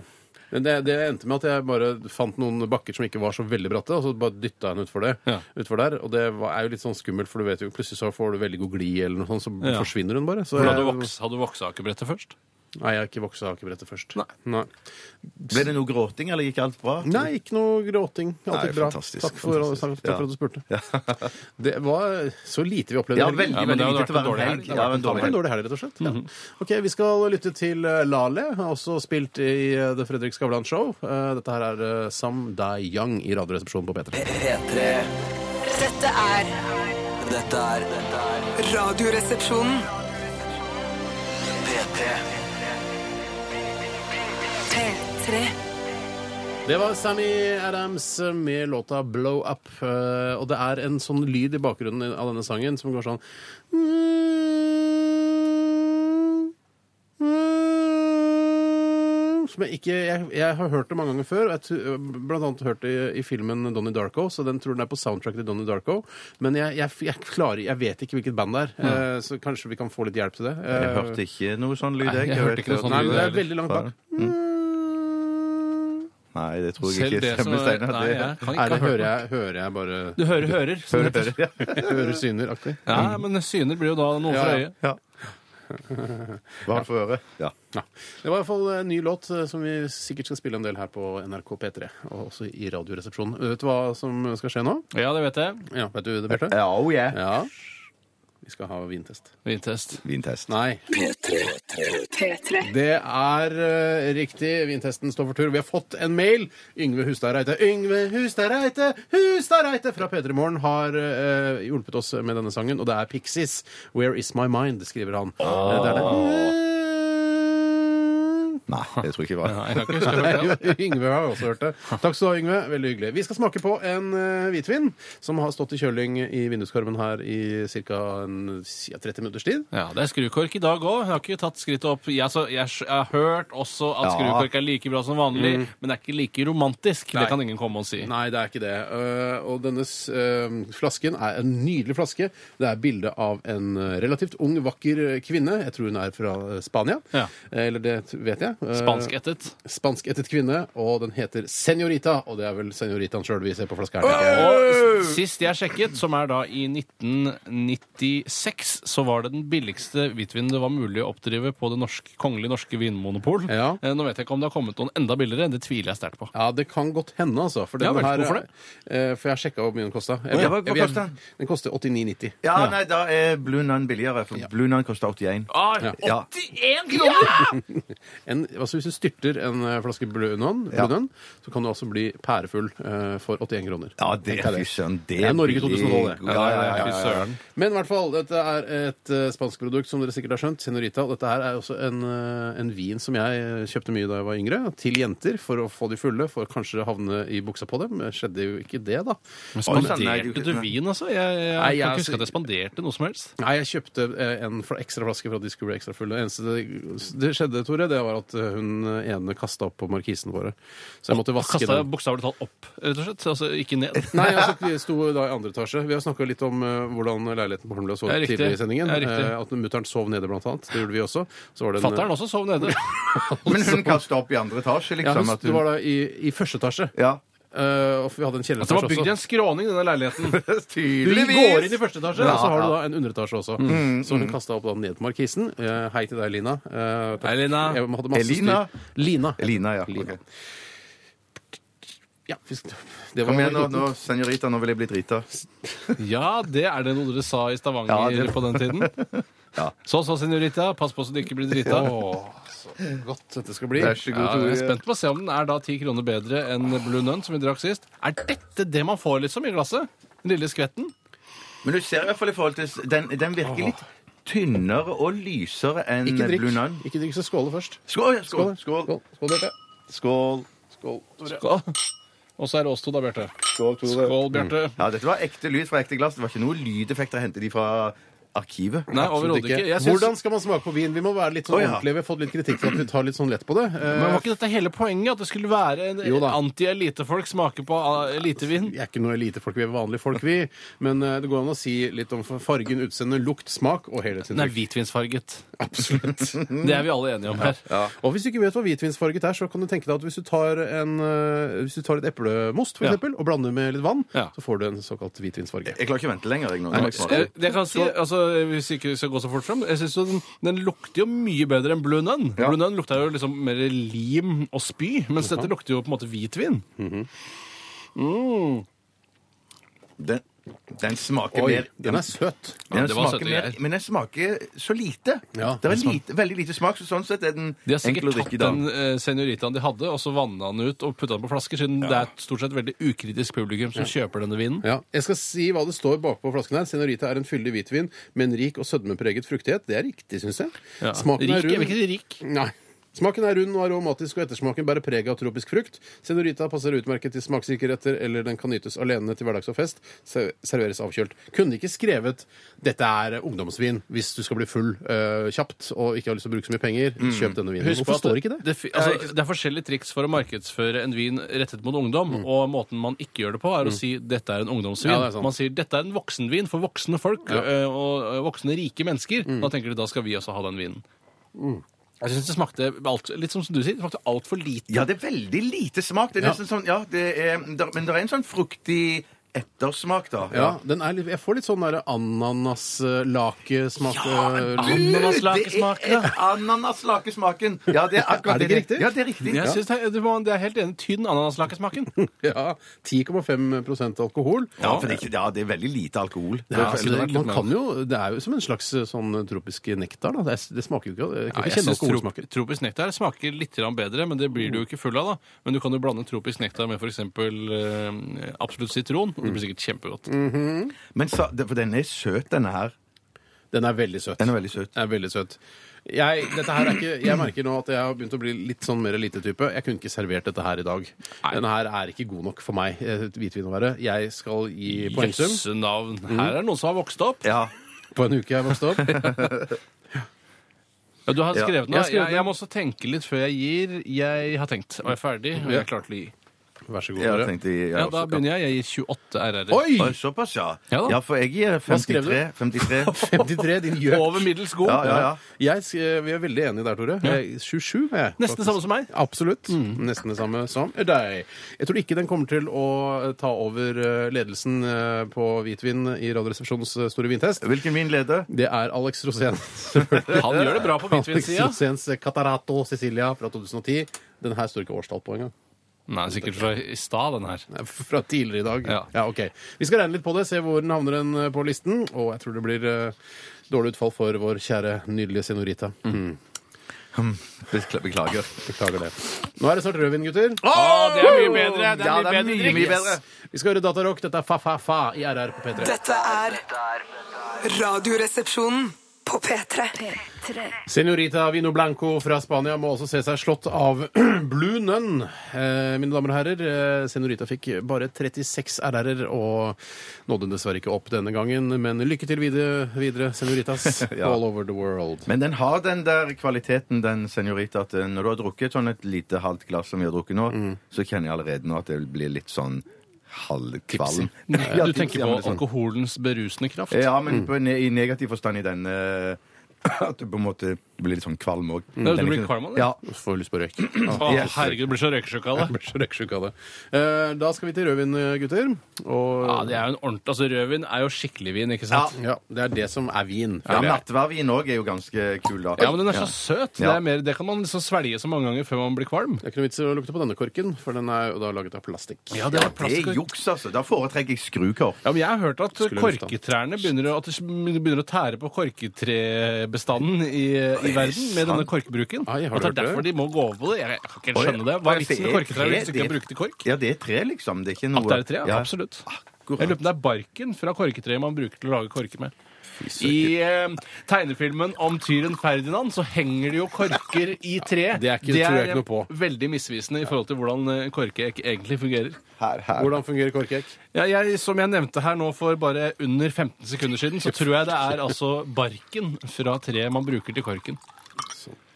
S3: Men det, det endte med at jeg bare fant noen bakker som ikke var så veldig bratte, og så bare dytta jeg den utfor det.
S5: Ja.
S3: Utfor der, og det var, er jo litt sånn skummelt, for du vet jo plutselig så får du veldig god glid, eller noe sånt, så
S5: Ja.
S3: forsvinner hun bare. Så
S5: For
S3: jeg-
S5: hadde du voks, hadde du vokseakebrettet først?
S3: Nei, jeg har ikke voksa akebrettet først.
S5: Nei.
S3: Nei.
S4: Ble det noe gråting, eller gikk alt bra?
S3: Nei, ikke noe gråting.
S4: Nei,
S3: Alltid bra.
S4: fantastisk,
S3: Takk for,
S4: fantastisk.
S3: Takk, takk for
S4: Ja.
S3: at du spurte. Det var så lite vi opplevde.
S4: Ja,
S3: i helgen.
S4: veldig,
S5: Ja, men det
S4: veldig
S5: hadde
S4: lite til å
S5: vært en
S4: være
S5: dårlig
S4: en
S5: helg.
S4: helg.
S5: Det
S4: Ja,
S5: hadde vært
S4: en dårlig
S3: En
S4: helg. Mhm.
S3: dårlig helg, rett og slett. Ja. Ok, Vi skal lytte til eh, Lale, har også spilt i eh, The Fredrik Skavlan Show. Eh, Dette her er eh, Sam Dai Young i Radioresepsjonen på P3.
S2: P3
S6: Dette er
S2: Dette er dette er
S6: Radioresepsjonen.
S2: P3
S6: P3.
S3: Det var Sammy Adams med låta 'Blow Up'. eh, Og det er en sånn lyd i bakgrunnen av denne sangen som går sånn Som jeg ikke Jeg, jeg har hørt det mange ganger før. og Jeg, tu- blant annet hørt det i, i filmen Donnie Darko, så den tror den er på soundtracket til Donnie Darko. Men jeg, jeg, jeg klarer Jeg vet ikke hvilket band det er, eh, så kanskje vi kan få litt hjelp til det.
S4: Jeg
S3: Eh,
S4: hørte ikke noe sånn lyd,
S5: Nei, jeg hørte ikke noe sånn
S3: Nei,
S5: lyd,
S3: men det er
S5: heller.
S3: veldig langt bak.
S4: Nei, det tror jeg
S5: Selv
S4: ikke
S5: det som
S4: stemmer,
S5: er
S4: Steinar.
S5: Nei,
S4: det-
S5: jeg kan
S3: Nei,
S5: ikke
S3: det
S5: ha hørt
S3: hører jeg, hører jeg bare
S5: Du hører hører. som det heter.
S3: Hører syner, aktig.
S5: Ja, men syner blir jo da noe
S3: Ja,
S5: for
S3: ja.
S5: øyet.
S4: Ja. Hva har du for øre? Ja.
S3: Ja. Det var i hvert fall en ny låt eh, som vi sikkert skal spille en del her på NRK P3, og også i Radioresepsjonen. Vet du hva som skal skje nå?
S5: Ja, det vet jeg.
S3: Ja, vet du det, Bjarte?
S4: Ja, oh yeah.
S3: Ja. Vi skal ha vintest.
S5: Vintest.
S4: Vintest.
S3: Nei. Det er eh, riktig. Vintesten står for tur. Vi har fått en mail. Yngve Hustad Reite. Yngve Hustad Reite, Hustad Reite fra P3 Morgen har eh, hjulpet oss med denne sangen, og det er Pixies. 'Where Is My Mind', skriver han. Eh, Det er det.
S4: Nei, det tror jeg ikke
S5: Nei,
S4: det var.
S5: jeg kan ikke huske å ha hørt det.
S3: Yngve har også hørt det. Takk skal du ha, Yngve. Veldig hyggelig. Vi skal smake på en eh, hvitvin som har stått i kjøling i vinduskarmen her i ca. Ja, 30 minutters tid.
S5: Ja, det er skrukork i dag òg. Hun har ikke tatt skrittet opp. Jeg, altså, jeg, sk- jeg har hørt også at
S4: Ja.
S5: skrukork er like bra som vanlig, men det er ikke like romantisk.
S3: Mm. Nei.
S5: Det kan ingen komme og si.
S3: Nei, det er ikke det. Eh, og denne s- eh, flasken er en nydelig flaske. Det er bilde av en eh, relativt ung, vakker eh, kvinne. Jeg tror hun er fra eh, Spania.
S5: Ja.
S3: Eh, Eller det t- vet jeg. Eh,
S5: Spanskættet.
S3: Spanskættet kvinne, og den heter Senorita. Og det er vel senoritaen sjøl vi ser på flaska her. tenker jeg.
S5: Og s- sist jeg sjekket, som er da i 1996, så var det den billigste hvitvinen det var mulig å oppdrive på det norske, kongelige norske vinmonopol.
S3: Ja.
S5: Eh, Nå vet jeg ikke om det har kommet noen enda billigere. Det tviler jeg sterkt på.
S3: Ja, det kan godt hende, altså. For,
S5: Ja
S3: den
S5: vel,
S3: her,
S5: hvorfor det?
S3: eh, for jeg har sjekka hvor mye den kosta.
S4: ja, hva- hva koster den?
S3: Den koster 89,90.
S4: Ja, nei, da er Blue Nun billigere, for Blue Nun koster 81.
S5: Ah,
S4: Ja.
S5: 81 kroner!
S3: En, altså hvis du styrter en eh, flaske Blue Nun, Blue
S4: Ja.
S3: Nun, så kan du altså bli pærefull eh, for 81 kroner.
S4: Ja, det
S3: Tenk deg
S4: fy søren, det
S3: Det er Norge
S4: blir-
S3: 2012, det.
S4: Ja, ja, ja,
S5: Fy
S4: ja, ja.
S5: søren.
S3: Men i hvert fall, dette er et eh, spansk produkt, som dere sikkert har skjønt. Senorita. Og dette her er også en, eh, en vin som jeg eh, kjøpte mye da jeg var yngre, til jenter, for å få de fulle, for kanskje å havne i buksa på dem. Skjedde jo ikke det, da.
S5: Spanderte du vin, altså? Jeg, jeg,
S3: Nei, jeg-
S5: kan ikke huske at jeg spanderte noe som helst.
S3: Nei, jeg kjøpte eh, en fla- ekstra flaske for at de skulle bli ekstra fulle. Det eneste det, det skjedde, Tore, det var at eh, hun ene kasta opp på markisen våre. Så jeg måtte vaske
S5: Kasta
S3: den.
S5: bokstavelig talt opp, rett og slett. Altså ikke ned.
S3: Nei, altså, vi sto da i andre etasje. Vi har snakka litt om eh, hvordan leiligheten på Holmlia sov
S5: Ja, riktig.
S3: tidligere i sendingen.
S5: Ja, riktig.
S3: Eh, at mutter'n sov nede, blant annet. Det gjorde vi også. Så var det en-
S5: Fatteren også sov nede.
S4: Men hun kaster opp i andre etasje,
S3: Ja,
S4: liksom.
S3: hun,
S4: at
S3: det var da i, i første etasje.
S4: Ja,
S3: Eh, og vi
S5: Altså,
S3: hadde en
S5: det
S3: kjelleretasje
S5: var bygd i
S3: også.
S5: en skråning, denne leiligheten.
S3: Du
S4: tydeligvis.
S3: går inn i første etasje,
S4: Ja, Mm.
S3: og så har du
S4: ja.
S3: da en underetasje også. så hun kasta opp da ned på markisen. Eh, hei til deg, Lina. Eh, takk.
S5: Hei, Lina.
S3: Jeg hadde masse
S4: Elina?
S3: styr. Lina.
S4: Lina, ja.
S3: Lina.
S4: ok.
S3: Ja, fisk- det var
S4: Kom igjen nå,
S3: anekdoten.
S4: nå, senorita, nå vil jeg bli drita.
S5: Ja, det er det noe dere sa i Stavanger
S4: Ja, det-
S5: på den tiden. Så så, senorita. Pass på så du ikke blir drita.
S3: Godt dette skal bli.
S4: Vær så
S5: Ja,
S4: god,
S5: jeg er
S4: Tore.
S5: spent på å se om den er da ti kroner bedre enn Blue Nun, som vi drakk sist. Er dette det man får, liksom, i glasset? Den lille skvetten?
S4: Men du ser i hvert fall i forhold til Den, den virker litt tynnere og lysere enn
S3: Ikke drikk.
S4: Blue Nun.
S3: Ikke drikk, så skåle først.
S4: Skål! Skål!
S3: Skål,
S4: Skål,
S3: skål Bjarte.
S4: skål,
S3: Skål, Tore.
S5: Skål. Og så er det oss to, da, Bjarte.
S4: skål Tore.
S5: Skål, Bjarte.
S4: Ja, dette var ekte lyd fra ekte glass. Det var ikke noe lydeffekter å hente de fra arkivet?
S5: Nei, overhodet ikke. Jeg syns-
S3: Hvordan skal man smake på vin? Vi må være litt sånn
S4: Å, ja.
S3: ordentlige. Vi har fått litt kritikk for at vi tar litt sånn lett på det. Eh,
S5: Men var ikke dette hele poenget? At det skulle være en-
S3: Jo da.
S5: anti-elitefolk smake på ah, elitevin?
S3: vi er ikke noe elitefolk, vi er vanlige folk, vi. Men eh, det går an å si litt om fargen, utseende, lukt, smak og
S5: Den er
S3: helhetsinntrykk.
S5: hvitvinsfarget.
S3: Absolutt.
S5: Det er vi alle enige om her.
S3: Og hvis du ikke vet hva hvitvinsfarget er, så kan du tenke deg at hvis du tar, en, eh, hvis du tar litt eplemost for
S5: Ja.
S3: eksempel, og blander med litt vann,
S5: Ja.
S3: så får du en såkalt hvitvinsfarge.
S4: Jeg klarer ikke å vente lenger. Jeg, nå. Nå må jeg smake.
S5: Eh, Det kan jeg si, altså, Hvis ikke vi skal gå så fort frem Jeg synes jo den, den lukter jo mye bedre enn Blue Nun. Blue Nun lukta jo liksom mer lim og spy, mens dette lukter jo på en måte hvitvin.
S4: Den, den smaker
S3: Oi,
S4: mer
S3: den er søt.
S5: Ja,
S4: Den
S5: det var
S4: smaker
S5: søte
S4: mer,
S5: greier.
S4: men den smaker så lite.
S3: Ja,
S4: det
S3: den
S4: er lite, veldig lite smak, så sånn sett er den
S5: De har
S4: enkel å
S5: sikkert tatt
S4: drikke i dag.
S5: den eh, senioritaen de hadde, og så vanna den ut og putta den på flasker, siden det er et stort sett veldig ukritisk publikum som kjøper denne vinen.
S3: Ja, Jeg skal si hva det står bakpå flasken her. Senorita er en fyldig hvitvin med en rik og sødmepreget fruktighet. Det er riktig, syns jeg.
S5: Ja.
S3: Smaken
S5: rik,
S3: er
S5: jeg vil
S3: rund.
S5: ikke si rik.
S3: Nei. Smaken er rund og aromatisk, og ettersmaken bærer preg av tropisk frukt. Senorita passer utmerket til smaksrike retter, eller den kan nytes alene til hverdags og fest. Se- Serveres avkjølt. Kunne ikke skrevet 'Dette er ungdomsvin' hvis du skal bli full eh, kjapt og ikke har lyst til å bruke så mye penger. Kjøp denne vinen.
S5: Mm. Husk på
S3: Hvorfor
S5: at
S3: står ikke det?
S5: Det, fi- altså, det er forskjellige triks for å markedsføre en vin rettet mot ungdom, og måten man ikke gjør det på, er å si 'dette er en ungdomsvin'.
S3: Mm. Ja, det er sant.
S5: man sier 'dette er en voksenvin for voksne folk ø, og ø, voksne rike mennesker'.
S3: Mm.
S5: Da tenker de da skal vi også ha den vinen. Jeg syns det smakte alt, litt som du sier, det smakte altfor lite.
S4: Ja, det er veldig lite smak. Det er
S3: Ja.
S4: nesten sånn, ja, det er, der, Men det er en sånn fruktig ettersmak, da.
S3: Ja, den er litt, Jeg får litt sånn der eh, ananas-lakesmak
S5: an- Ananaslakesmak,
S4: Det er Ananaslakesmaken. Ja, det er akkurat
S3: Er det ikke
S4: det.
S3: riktig?
S4: Ja, det er riktig.
S5: Jeg synes det, er- det, var- det er helt enig. Tynn ananaslakesmaken.
S3: Ja, 10,5 alkohol.
S4: Ja, for det, er ikke- ja, det er veldig lite alkohol.
S3: Ja, altså,
S5: det er litt
S3: det, man
S5: mer-
S3: kan jo, det er jo som en slags eh, sånn tropisk nektar. Da. Det, er, det smaker jo ikke Jeg kan
S5: Nei,
S3: ikke
S5: jeg
S3: kjenne
S5: synes trop,
S3: alkoholsmaken.
S5: Tropisk nektar smaker litt grann bedre, men det blir du jo ikke full av. da Men du kan jo blande tropisk nektar med f.eks. Uh, absolutt sitron. og Det blir sikkert kjempegodt.
S4: Men sa, det- for den er søt, denne her.
S3: Den er veldig søt.
S4: Den er veldig søt.
S3: Den er veldig søt. Jeg, dette her er ikke, jeg merker nå at jeg har begynt å bli litt sånn mer elitetype. Jeg kunne ikke servert dette her i dag. Denne her er ikke god nok for meg, eh, hvitvin å være. Jeg skal gi poengsum
S5: Jøsse navn.
S4: Mm.
S5: Her er det noen som har vokst opp.
S4: Ja.
S3: på en uke jeg vokste opp.
S5: Ja, du har
S4: Ja,
S5: skrevet den.
S3: jeg
S5: da.
S3: har skrevet
S5: Jeg, jeg må også tenke litt før jeg gir. Jeg har tenkt og jeg er ferdig, og jeg er klar til å gi.
S3: Vær så god.
S4: Jeg
S3: dere.
S4: tenkte jeg
S5: Ja,
S4: også-
S5: Da begynner jeg. Jeg gir 28 RR.
S4: Oi,
S3: Oi!
S4: såpass, ja.
S5: Ja da.
S4: Ja, for jeg gir
S3: skrev du?
S4: 53. 53.
S3: 53, din gjøk.
S5: Over middels god.
S4: Ja, ja, ja.
S3: Jeg, sk- vi er veldig enige der, Tore. Jeg- 27 er jeg.
S5: Nesten det samme som meg. Mm.
S3: Absolutt. Nesten det samme som deg. Jeg tror ikke den kommer til å ta over eh, ledelsen eh, på hvitvin i Radioresepsjonens eh, store vintest.
S4: Hvilken vin leder?
S3: Det er Alex Rosén.
S5: Han gjør det bra på
S3: Alex
S5: hvitvinssida.
S3: Roséns eh, Catarato Cecilia fra 2010. Den her står ikke årstall på engang.
S5: Nei, sikkert fra i stad, den her.
S3: Nei, Fra tidligere i dag.
S5: Ja.
S3: ok. Vi skal regne litt på det, se hvor den havner den eh, på listen. Og jeg tror det blir eh, dårlig utfall for vår kjære, nydelige senorita. Mm.
S4: Bekla- Beklager.
S3: Beklager det. Nå er det snart rødvin, gutter.
S5: Å, det er mye bedre! Det er
S4: Ja,
S5: mye bedre
S4: mye,
S5: drikk.
S4: mye bedre.
S3: Vi skal høre Datarock. Dette er Fa-Fa-Fa i RR på P3.
S6: Dette er Radioresepsjonen på P3.
S3: Senorita Vino Blanco fra Spania må også se seg slått av Blue Nun. Eh, mine damer og herrer, eh, Senorita fikk bare 36 RR-er og nådde dessverre ikke opp denne gangen. Men lykke til videre, videre Senoritas
S4: Ja.
S3: all over the world.
S4: Men den har den der kvaliteten, den senorita, at eh, når du har drukket sånn et lite halvt glass som vi har drukket nå,
S5: Mm.
S4: så kjenner jeg allerede nå at det blir litt sånn halvkvalm. Ja,
S5: Du
S4: tipsy,
S5: tenker
S4: ja,
S5: på Mm.
S4: men det er sånn.
S5: alkoholens berusende kraft.
S4: Ja, men på, ne- i negativ forstand i denne at du på en måte blir litt sånn kvalm òg.
S5: Ja, du blir kvalm av det?
S4: Ja.
S3: Får lyst på røyk. Ja.
S5: Å, herregud, det blir så røykesjuk av det.
S3: Jeg blir så røyksjuk av det. Eh, da skal vi til rødvin, gutter. Og
S5: Ja, det er jo en ordentlig, altså Rødvin er jo skikkelig vin, ikke sant?
S3: ja, det er det som er vin.
S4: Ja,
S3: føler jeg.
S4: Nattverdvin òg er jo ganske kul, da.
S5: Ja, men den er så søt. Det,
S4: Ja.
S5: er mer, det kan man liksom svelge så mange ganger før man blir kvalm.
S3: Det er ikke noe vits i å lukte på denne korken, for den er jo da laget av plastikk.
S5: Ja, det er
S4: Det er
S5: plastikk.
S4: juks, altså. Da foretrekker jeg skrukork.
S5: Ja, men jeg har hørt at
S3: Skulle jeg lyst
S5: korketrærne begynner, å- at det begynner å tære på korketrebestanden i, i verden med denne korkbruken.
S3: Ai, har
S5: at
S3: du
S5: det er
S3: hørt
S5: derfor de må gå over på det. Jeg, jeg kan ikke helt
S4: Oi,
S5: skjønne det. Hva
S4: oi,
S5: er vitsen med
S4: det er
S5: korketrær hvis du
S4: tre,
S5: ikke
S4: det-
S5: har brukt til kork?
S4: Ja, det er tre, liksom. Det er ikke noe
S5: At det er et tre?
S4: Ja.
S5: Ja, absolutt. Jeg lurer på om det er barken fra korketreet man bruker til å lage korker med. I eh, tegnefilmen om tyren Ferdinand så henger det jo korker i tre.
S3: Det er ikke- tror jeg ikke noe på.
S5: veldig misvisende i forhold til hvordan eh, korkeegg egentlig fungerer.
S4: Her, her.
S3: Hvordan fungerer korkek?
S5: Ja, jeg, som jeg nevnte her nå for bare under 15 sekunder siden, så tror jeg det er altså barken fra treet man bruker til korken.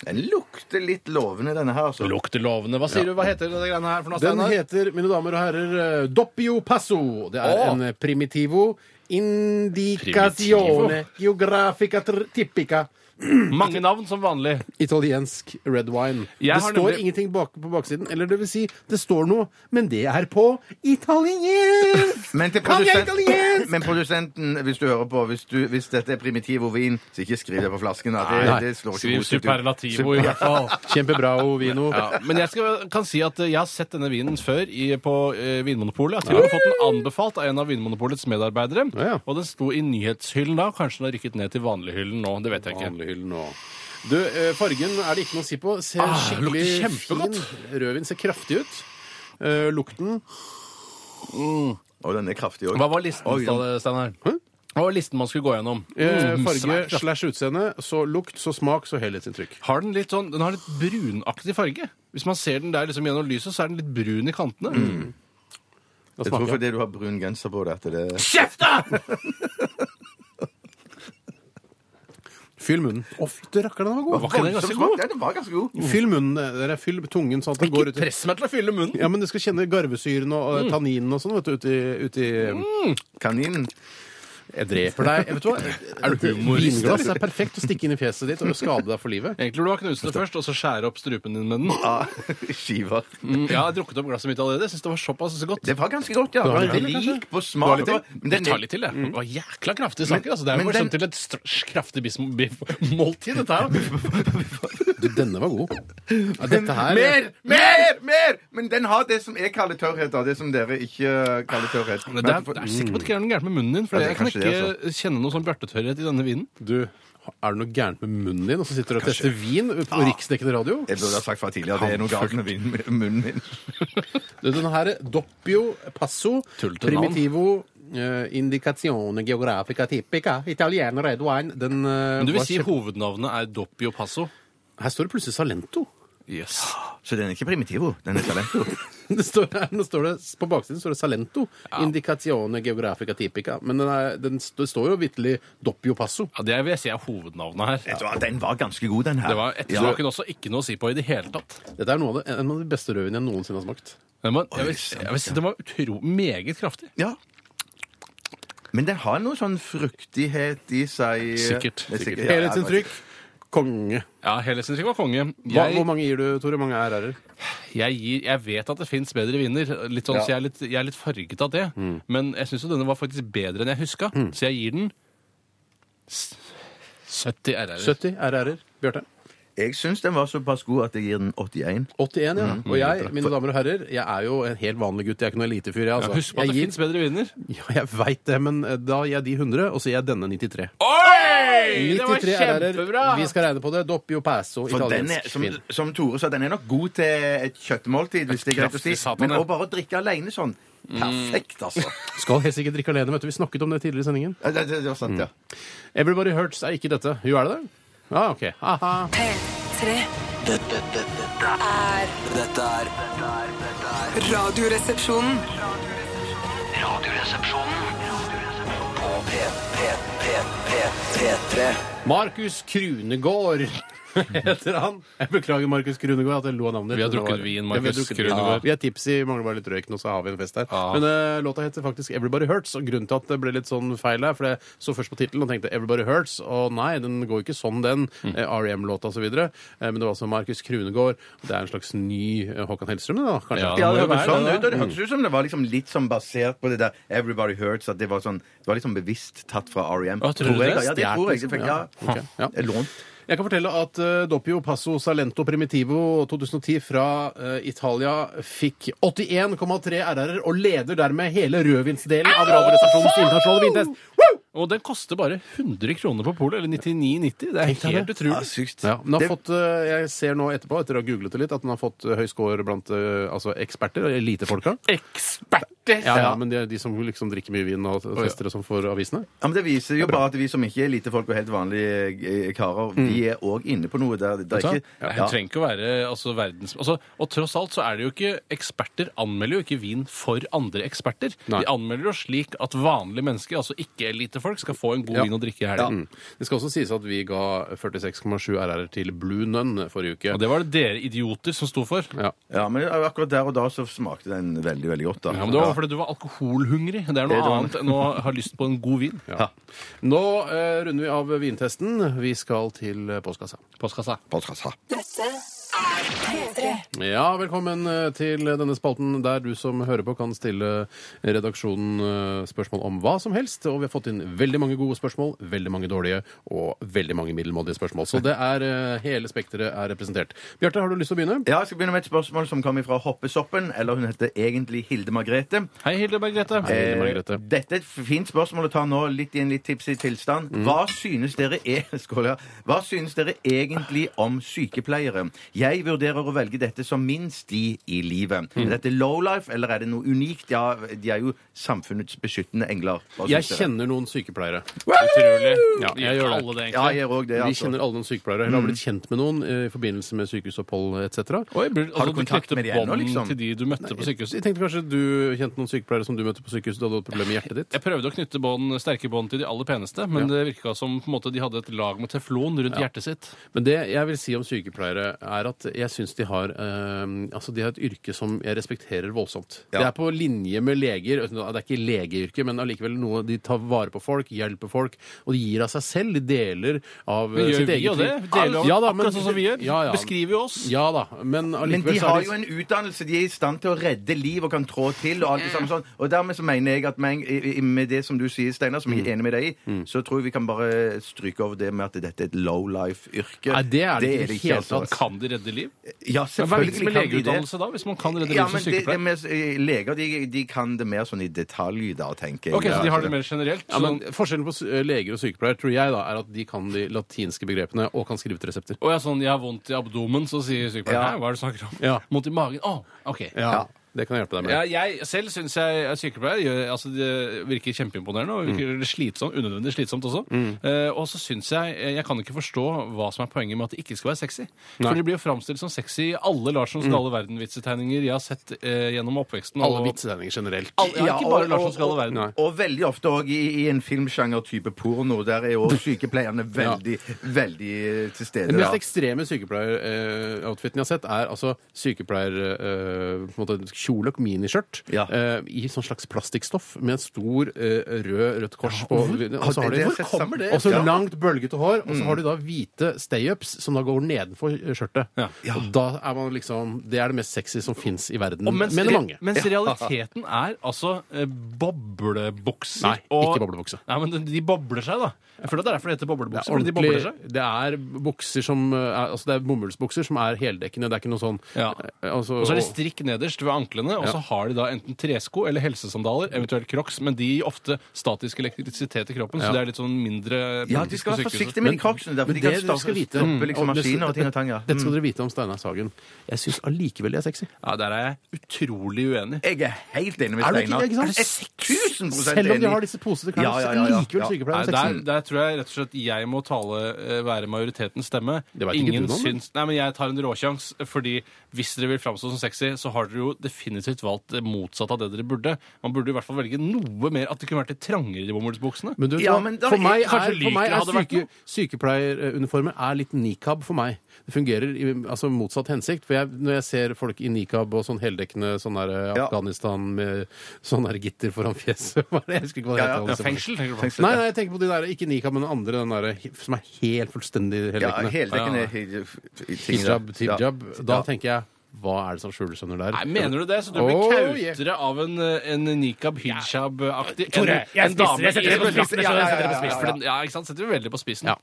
S4: Den lukter litt lovende, denne her. altså.
S5: Lukter lovende. Hva sier du? Hva heter denne greiene her for noe,
S3: Den
S5: Steinar?
S3: heter, mine damer og herrer, eh, Doppio Passo. Det er
S5: Å.
S3: en eh, primitivo indicazione geografica tr- tippica.
S5: Mange navn som vanlig.
S3: Italiensk red wine.
S5: Jeg
S3: det
S5: har
S3: står
S5: nemlig-
S3: ingenting bak, på baksiden. Eller det vil si, det står noe, men det er på italiensk!
S4: Men, til
S3: Kan jeg
S4: produsent-
S3: italiensk?
S4: men produsenten, hvis du hører på, hvis, du, hvis dette er primitivo vin, så ikke skriv det på flasken. Da. Det,
S3: Nei.
S4: det slår ikke
S5: Skriv
S4: positivt ut.
S5: superlativo i hvert fall.
S3: Kjempebra, Ovino.
S5: Ja, men jeg skal, kan si at eh, jeg har sett denne vinen før i, på eh, Vinmonopolet. Jeg har til og med fått den anbefalt av en av Vinmonopolets medarbeidere.
S3: Ja, ja.
S5: Og den sto i nyhetshyllen da. Kanskje den har rykket ned til vanlighyllen nå. Det vet jeg ikke.
S3: Vanlighyllen nå. Du, eh, fargen er det ikke noe å si på. Ser
S5: Ah,
S3: skikkelig
S5: lukter
S3: fin.
S5: kjempegodt.
S3: Rødvin ser kraftig ut. Eh, lukten
S4: Og den er kraftig òg.
S5: Hva var listen,
S4: Oi,
S5: sa det, Steinar? Hva var listen man skulle gå gjennom?
S3: Eh,
S5: Mm, svært
S3: farge
S5: kraftig.
S3: slash utseende, så lukt, så smak, så helhetsinntrykk.
S5: har den litt sånn, den har litt brunaktig farge. Hvis man ser den der liksom gjennom lyset, så er den litt brun i kantene.
S3: Da
S4: Jeg tror
S3: smaker jeg.
S4: fordi du har brun genser på det at det
S5: Kjeft, da!
S3: Fyll munnen. Å, fytti rakkeren, den var god!
S5: Var ikke den ganske god?
S4: Ja, den var ganske god.
S3: Fyll munnen. Dere, fyll tungen sånn at den går ut i
S5: Press meg til å fylle munnen.
S3: ja, men Du skal kjenne garvesyren og
S5: Mm.
S3: eh, tanninen og sånn vet du, uti, uti
S4: Kaninen.
S3: Jeg dreper deg. Vet du hva?
S5: Er du humorist?
S3: Vinglass er perfekt å stikke inn i fjeset ditt og skade deg for livet.
S5: Egentlig burde du ha knust det først, og så skjære opp strupen din med den.
S4: Ah, Skiver.
S5: Mm, Jeg har drukket opp glasset mitt allerede. Jeg syns det var såpass godt.
S4: Det var ganske godt, ja. Det
S3: det,
S4: var
S3: kanskje?
S4: rik på
S5: Det var
S4: smak.
S5: litt
S4: Det var-
S5: til. Jeg
S4: men den-
S5: tar litt til, jeg. Det var jækla kraftige saker. altså. Det er
S4: men
S5: jo bare
S4: den-
S5: sånn til et str- kraftig bism- biffmåltid, dette her.
S3: Du, denne var god. Ja, dette her
S4: Mer! Mer! Mer! Men den har det som jeg kaller tørrhet, da. Det som dere ikke eh, kaller tørrhet.
S5: Men Det er, det er sikkert på at det er noe gærent med munnen din, for
S4: Ja, det
S5: jeg
S4: er
S5: kan
S4: kanskje det,
S5: ikke kjenne noe sånn bjørtetørrhet i denne vinen.
S3: Du, er det noe gærent med munnen din? Og så sitter du og tester vin på
S5: Ah.
S3: riksdekkende radio?
S4: Mm. jeg burde ha sagt fra tidligere at det er noe galt med vin- med munnen min.
S3: Du, den her er Doppio Passo
S5: Tullete navn.
S3: Primitivo eh, Indicazione Geografica Tipica Italiano Red Wine den, eh,
S5: Men du vil
S3: var
S5: si
S3: kjempe-
S5: hovednavnet er Doppio Passo?
S3: Her står det plutselig Salento.
S5: Yes.
S4: Så den er ikke primitivo. Den er talento.
S3: Det står her, nå står det, på baksiden står det Salento. Indicazione Geografica Tipica. Men den er, den, st- det står jo vitterlig Doppio Passo.
S5: Ja, det vil jeg si er hovednavnet her.
S4: Vet du hva, Den var ganske god, den her.
S5: Det var ettersmaken også ikke noe å si på i det hele tatt.
S3: Dette er noe av det, en av de beste rødvinene jeg noensinne har smakt.
S5: Den var, jeg,
S4: Oi,
S5: vil, jeg vil si den var utro meget kraftig.
S4: Ja. Men den har noe sånn fruktighet i seg.
S5: Sikkert.
S4: Det er
S5: Sikkert.
S4: ja, ja,
S3: Helhetsinntrykk. Konge.
S5: Ja, Helhetsinntrykk var konge.
S3: Hva,
S5: Jeg,
S3: hvor mange gir du, Tore? Mange RR-er?
S5: jeg, gir, jeg vet at det fins bedre viner, litt sånn,
S4: Ja.
S5: så jeg er litt, jeg er litt farget av det. Men jeg syns jo denne var faktisk bedre enn jeg huska, så jeg gir den s- 70 RR-er.
S3: 70 RR-er. Bjarte?
S4: Jeg syns den var såpass god at jeg gir den 81.
S3: 81, Mm, ja. Og jeg, mine damer og herrer, jeg er jo en helt vanlig gutt. Jeg er ikke noen elitefyr, jeg.
S5: Ja,
S3: Altså.
S5: husk på at det
S3: jeg
S5: fins bedre viner.
S3: Ja, jeg veit det, men eh, da gir jeg de 100, og så gir jeg denne 93.
S5: Oi!
S3: 93 RR-er. Vi skal regne på det. Doppio passo,
S4: For den er,
S3: italiensk
S4: som,
S3: fin.
S4: som Tore sa, den er nok god til et kjøttmåltid, hvis det er greit å si.
S5: Kraftig satan,
S4: Men
S5: ja.
S4: å bare drikke alene sånn Perfekt, altså.
S3: Skal helst ikke drikke alene, vet du. Vi snakket om det tidligere i sendingen.
S4: Ja, Det, det, det var sant, ja.
S3: Everybody Hurts er ikke dette. Jo, er det det? Ja, ah, OK. Aha.
S6: P3
S2: Dette, dette, dette er
S6: er
S2: Dette er dette er- dette er
S6: Radioresepsjonen.
S2: Radioresepsjonen på P, P, P, P, P3.
S3: Markus Krunegård heter han. Jeg beklager, Markus Krunegård, at jeg lo av navnet.
S5: Vi har
S3: Det var-
S5: drukket vin, Markus
S3: Ja, vi har drukket-
S5: Krunegård.
S3: Ja, vi er tipsy, mangler bare litt røyk nå, så har vi en fest her.
S5: Ja.
S3: Men eh, låta heter faktisk Everybody Hurts, og grunnen til at det ble litt sånn feil her, for jeg så først på tittelen og tenkte Everybody Hurts, og nei, den går ikke sånn, den.
S5: Mm.
S3: eh, R.E.M.-låta og så videre. Eh, Men det var altså Markus Krunegård. Det er en slags ny eh, Håkan Hellstrøm, det da, kanskje?
S5: Ja,
S4: Ja,
S5: må
S4: det
S5: jo
S4: hørtes
S5: være
S4: sånn
S5: det,
S4: ut, og det hørtes ut som det var liksom litt sånn basert på det der Everybody Hurts. At det var sånn Det var liksom bevisst tatt fra R.E.M.
S5: Å, tror du
S4: jeg,
S5: det?
S4: da. Ja, det tror jeg. Det fikk, ja.
S3: Ok, ja.
S4: Jeg lånt.
S3: Jeg kan fortelle at eh, Doppio Passo Salento Primitivo 2010 fra eh, Italia fikk 81,3 RR-er og leder dermed hele rødvinsdelen av Radioresepsjonens internasjonale vintest. Woo!
S5: Og den koster bare 100 kroner på polet, eller 99,90. Det er
S3: deg
S5: helt
S3: det.
S4: Ja,
S5: utrolig.
S4: sykt.
S3: Ja, den har
S4: Det-
S3: fått, eh, jeg ser nå etterpå, etter å ha googlet det litt, at den har fått eh, høy score blant eh, altså eksperter og elitefolka.
S5: Eksperter!
S3: Ja, ja, men de, de som liksom drikker mye vin og fester og sånn for avisene.
S4: Ja, men Det viser jo bare at vi som ikke er lite folk og helt vanlige eh, karer,
S5: Mm.
S4: vi er òg inne på noe der. Det er ikke,
S5: Ja, Det trenger ikke å være altså, verdens... Altså, og tross alt så er det jo ikke Eksperter anmelder jo ikke vin for andre eksperter.
S3: Nei.
S5: De anmelder jo slik at vanlige mennesker, altså ikke-elitefolk, skal få en god
S3: Ja.
S5: vin å drikke i
S3: Ja.
S5: helgen.
S3: Mm. Det skal også sies at vi ga 46,7 RR til Blue Nun forrige uke.
S5: Og det var det dere idioter som sto for.
S3: ja.
S4: ja, men akkurat der og da så smakte den veldig, veldig godt. da.
S5: Ja, men Det var fordi du var alkoholhungrig. Det er noe
S4: Det var-
S5: annet enn å ha lyst på en god vin.
S3: Ja. Nå eh, runder vi av vintesten. Vi skal til eh, postkassa.
S5: Postkassa.
S3: Ja, velkommen eh, til denne spalten der du som hører på kan stille redaksjonen eh, spørsmål om hva som helst. Og vi har fått inn veldig mange gode spørsmål, veldig mange dårlige og veldig mange middelmådige spørsmål. Så det er eh, hele spekteret er representert. Bjarte, har du lyst til å begynne?
S4: Ja, Jeg skal begynne med et spørsmål som kommer fra Hoppesoppen. Eller hun heter egentlig Hilde Margrethe.
S5: Hei, Hilde Margrethe.
S3: Hilde Margrethe.
S4: dette er et fint spørsmål å ta nå, litt i en litt tipsy tilstand.
S3: Mm.
S4: Hva synes dere er Skål, ja. Hva synes dere egentlig om sykepleiere? Jeg vurderer å velge dette som min sti i livet.
S3: Mm.
S4: Er dette lowlife, eller er det noe unikt? Ja, de er jo samfunnets beskyttende engler. Hva
S3: Jeg
S4: synes dere?
S3: kjenner noen sykepleiere.
S5: Utrolig.
S3: Ja,
S5: Vi
S3: jeg
S5: gjør
S3: gjør det.
S5: alle det,
S4: Ja,
S5: egentlig.
S4: jeg gjør òg det.
S3: Vi
S4: Altså.
S3: kjenner alle noen sykepleiere. Eller har blitt kjent med noen eh, i forbindelse med sykehusopphold etc.
S5: Oi, blir- altså,
S4: du kontakt
S5: knekte
S4: med de ennå,
S5: bånd
S4: liksom?
S5: Til de du møtte på sykehuset?
S3: Jeg tenkte kanskje du kjente noen sykepleiere som du møtte på sykehuset da du hadde et problem med hjertet ditt?
S5: Jeg prøvde å knytte bånd, sterke bånd til de aller peneste, men det virka som på en måte, de hadde et lag med teflon rundt hjertet sitt.
S3: Men det jeg vil si om sykepleiere, er at jeg syns de har eh, Altså, de har et yrke som jeg respekterer voldsomt.
S4: Ja.
S3: Det er på linje med leger. Altså, Det er ikke legeyrke, men allikevel noe de tar vare på folk, hjelper folk, og de gir av seg selv. De deler av
S5: Men
S3: eh,
S5: gjør
S3: sitt
S5: vi
S3: eget
S5: jo det?
S3: liv.
S5: Deler av,
S3: Ja da, men-
S5: akkurat sånn som vi gjør?
S3: Ja, ja.
S5: Beskriver jo oss.
S3: Ja da, men
S4: Men de
S3: allikevel så
S4: har
S3: er
S4: jo en utdannelse. De er i stand til å redde liv og kan trå til. Og alt det samme sånn. Og dermed så mener jeg at med, i- i- med det som du sier, Steinar, som
S5: Mm.
S4: jeg er enig med deg i, så tror jeg vi kan bare stryke over det med at dette er et low life-yrke.
S3: Nei, det er det ikke i det hele
S4: altså.
S3: tatt.
S5: Kan de redde liv?
S4: Ja,
S5: Men Hva er vitsen
S4: selvfølgelig
S5: med
S4: kan de det.
S5: legeutdannelse da, hvis man kan redde liv
S4: Ja,
S5: som
S4: men det, det
S5: sykepleier?
S4: med, eh, leger de, de kan det mer sånn i detalj, da, tenker jeg.
S5: Ok, Så de har det mer generelt?
S3: Ja, men
S5: sånn-
S3: Forskjellen på s- eh, leger og sykepleier tror jeg da, er at de kan de latinske begrepene og kan skrive ut resepter.
S5: Å ja, sånn 'jeg har vondt i abdomen', så sier sykepleieren
S4: Ja.
S5: 'hæ, hva er det du snakker om'?
S3: Ja.
S5: Vondt i magen? Å, ok.
S3: Ja, Det kan jeg hjelpe deg med.
S5: Ja, jeg selv syns jeg er sykepleier. Gjør, altså, det virker kjempeimponerende og virker slitsomt, unødvendig slitsomt også. Eh, og så syns jeg eh, Jeg kan ikke forstå hva som er poenget med at det ikke skal være sexy. For de blir jo framstilt som sexy i alle Larsson Skalle-verden-vitsetegninger jeg har sett eh, gjennom oppveksten. og-
S3: Alle vitsetegninger generelt.
S5: Alle- ja,
S4: Ja,
S5: ikke bare
S4: og-
S5: Larsson
S4: og-
S5: Skalle verden.
S3: Nei.
S4: Og veldig ofte òg i, i en filmsjanger type porno. Der er jo også sykepleierne veldig, veldig eh, til stede.
S3: Den
S4: da.
S3: mest ekstreme sykepleieroutfiten jeg har sett, er altså eh, sykepleierkjole og miniskjørt
S4: Ja.
S3: eh, i sånn slags plastikkstoff med en stor eh, rød rødt kors på. Og
S4: Har
S3: så har
S4: det-
S3: de
S4: det har jeg sett sammen, det.
S3: Og så
S4: Ja. Mm.
S3: langt, bølgete hår, og så har de da hvite stay-ups som da går nedenfor eh, skjørtet.
S5: Ja.
S3: Og da er man liksom Det er det mest sexy som fins i verden,
S5: Og mens,
S3: mener mange.
S5: mens realiteten er altså eh, boblebukser
S3: Nei, ikke boblebukse.
S5: Nei, men de, de bobler seg, da. Jeg føler at det er derfor det heter boblebukser. fordi de bobler
S3: ordentlig,
S5: seg.
S3: det er bukser som eh, er, Altså det er bomullsbukser som er heldekkende. Det er ikke noe sånn
S5: Ja.
S3: eh, altså,
S5: Og så er det strikk nederst ved anklene, og så
S3: Ja.
S5: har de da enten tresko eller helsesandaler, eventuelt crocs, men de gir ofte statisk elektrisitet i kroppen,
S3: Ja.
S5: så det er litt sånn mindre
S4: Ja, de skal
S5: på
S4: være
S5: sykehuset.
S4: forsiktige med de crocsene der, for de
S3: Men
S4: kan
S3: det dere skal
S4: stoppe,
S3: vite- Mm.
S4: stoppe liksom,
S3: og det-
S4: maskiner og ting og tang. Ja. Mm.
S3: Dette skal dere vite om Steinar Sagen. Jeg syns allikevel jeg er sexy.
S5: Ja, der er jeg utrolig uenig.
S4: Jeg er helt enig med
S3: Er du ikke-
S4: Steinar.
S3: ikke sant?
S4: Jeg er 1000 enig.
S3: Selv om de har disse posete klærne,
S4: Ja, ja, ja,
S3: så
S4: ja.
S3: er likevel
S4: Ja.
S5: Nei,
S3: sykepleier
S5: der,
S3: sexy.
S5: der tror jeg rett og slett jeg må tale, eh, være majoritetens stemme.
S3: Det vet ikke
S5: Ingen
S3: du noe om,
S5: syns Nei, men jeg tar en råsjans, fordi hvis dere vil framstå som sexy, så har dere jo definitivt valgt det motsatte av det dere burde. Man burde i hvert fall velge noe mer At det kunne vært litt trangere i de bomullsbuksene.
S3: Men du, vet
S4: Ja,
S3: hva?
S4: men da-
S3: for meg er,
S5: Kanskje
S3: for meg
S5: lycra
S3: er
S5: hadde vært
S3: syke, sykepleieruniformer er litt nikab for meg. Det fungerer i altså, motsatt hensikt. For jeg, når jeg ser folk i nikab og sånn heldekkende sånn der eh,
S4: Ja.
S3: Afghanistan med sånn der gitter foran fjeset Hva er det? Jeg husker ikke hva det
S4: Ja, ja.
S3: heter.
S5: Ja, fengsel, tenker du på.
S3: Nei, nei, jeg tenker på de der, ikke nikab, men den andre, den der he- som er helt fullstendig
S4: Ja,
S3: heldekkende.
S4: heldekkende
S5: Ja.
S4: hijab. ting der.
S3: Hijab, tibjab.
S4: Ja.
S3: Da tenker jeg hva er det som skjuler seg under der?
S5: Nei, Mener du det? Så du blir
S3: Oh, yeah.
S5: kautere av en, eh, en nikab hijab-aktig Tore, jeg spiser
S3: setter det på spissen,
S5: Ja,
S3: jeg
S5: ja,
S3: setter det på
S5: ja, ja,
S3: spissen.
S5: for den- ja, ikke sant? Setter vi veldig på spissen. Eh,
S3: Ja.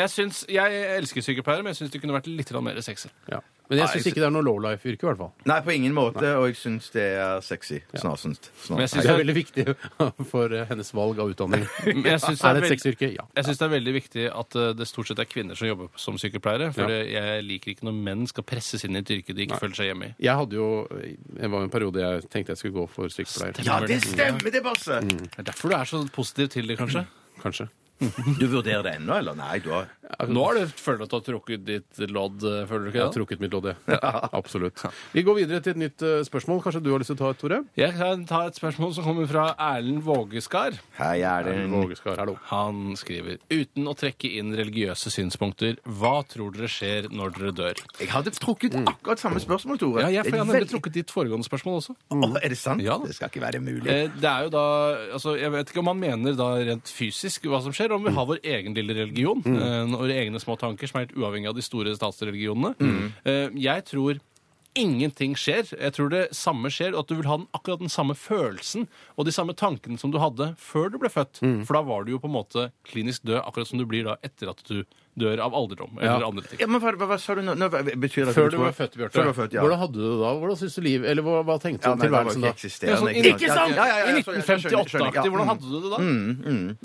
S5: Jeg, syns, jeg elsker sykepleiere, men jeg syns de kunne vært litt grann mer sexy.
S3: Ja. Men jeg
S4: Nei,
S3: syns ikke det er noe lowlife-yrke, i hvert fall.
S4: Nei, på ingen måte, og jeg syns det er sexy. Snarsent.
S5: Men jeg synes
S4: Snarsent.
S3: Det er veldig viktig for eh, hennes valg av utdanning.
S5: Men jeg synes det er
S3: Er det et
S5: veldig-
S3: sexyrke? Ja.
S5: Jeg syns det er veldig viktig at eh, det stort sett er kvinner som jobber som sykepleiere. For
S3: Ja.
S5: jeg liker ikke når menn skal presses inn i et yrke de ikke føler seg hjemme i.
S3: Jeg hadde jo Jeg var jo en periode jeg tenkte jeg skulle gå for sykepleier.
S4: Ja, det stemmer det, Basse!
S3: Mm.
S5: Det er derfor du er så positiv til det, kanskje.
S3: Kanskje.
S4: Du vurderer det ennå, eller? Nei, du har
S5: Nå har du følt at du har trukket ditt lodd, eh, føler du
S3: Jeg
S5: ikke
S3: har
S5: det?
S3: trukket mitt lodd, jeg. Absolutt. Vi går videre til et nytt eh, spørsmål. Kanskje du har lyst til å ta et, Tore?
S5: Jeg kan ta et spørsmål som kommer fra Erlend Vågeskar.
S4: Hei, er det en
S3: Vågeskar, hallo.
S5: Han skriver uten å trekke inn religiøse synspunkter, hva tror dere skjer når dere dør?
S4: Jeg hadde trukket
S3: Mm.
S4: akkurat samme spørsmål, Tore.
S5: Ja, jeg,
S4: Det
S5: for jeg
S4: er
S5: har nemlig
S4: veldig-
S5: trukket ditt foregående spørsmål også.
S4: Å, Er det sant?
S5: Ja.
S4: Det skal ikke være mulig.
S5: Eh, Det er jo da, altså Jeg vet ikke om han mener da rent fysisk hva som skjer, om vi har vår egen lille religion. eh, Våre egne små tanker som er helt uavhengig av de store statsreligionene. Eh, Jeg tror ingenting skjer. Jeg tror det samme skjer, og at du vil ha den, akkurat den samme følelsen og de samme tankene som du hadde før du ble født. For da var du jo på en måte klinisk død, akkurat som du blir da etter at du dør av alderdom. Eller
S3: Ja.
S5: andre ting.
S4: Ja, men hva, hva, hva sa du nå? nå betyr det at
S3: Før du
S4: tror-
S3: var født, Bjarte.
S4: Før du var født, ja.
S3: Hvordan hadde du det da? Hvordan synes du liv, eller hva, hva tenkte du
S4: ja,
S3: om
S4: nei, det var jo
S5: Ja,
S4: ikke
S3: tilværelsen da?
S5: sånn,
S4: eksisterende.
S5: ikke sant?
S4: Ja,
S5: I
S4: ja, ja, jeg skjønner, jeg skjønner, jeg skjønner, ja. mm.
S5: 1958-aktig, hvordan hadde du det da?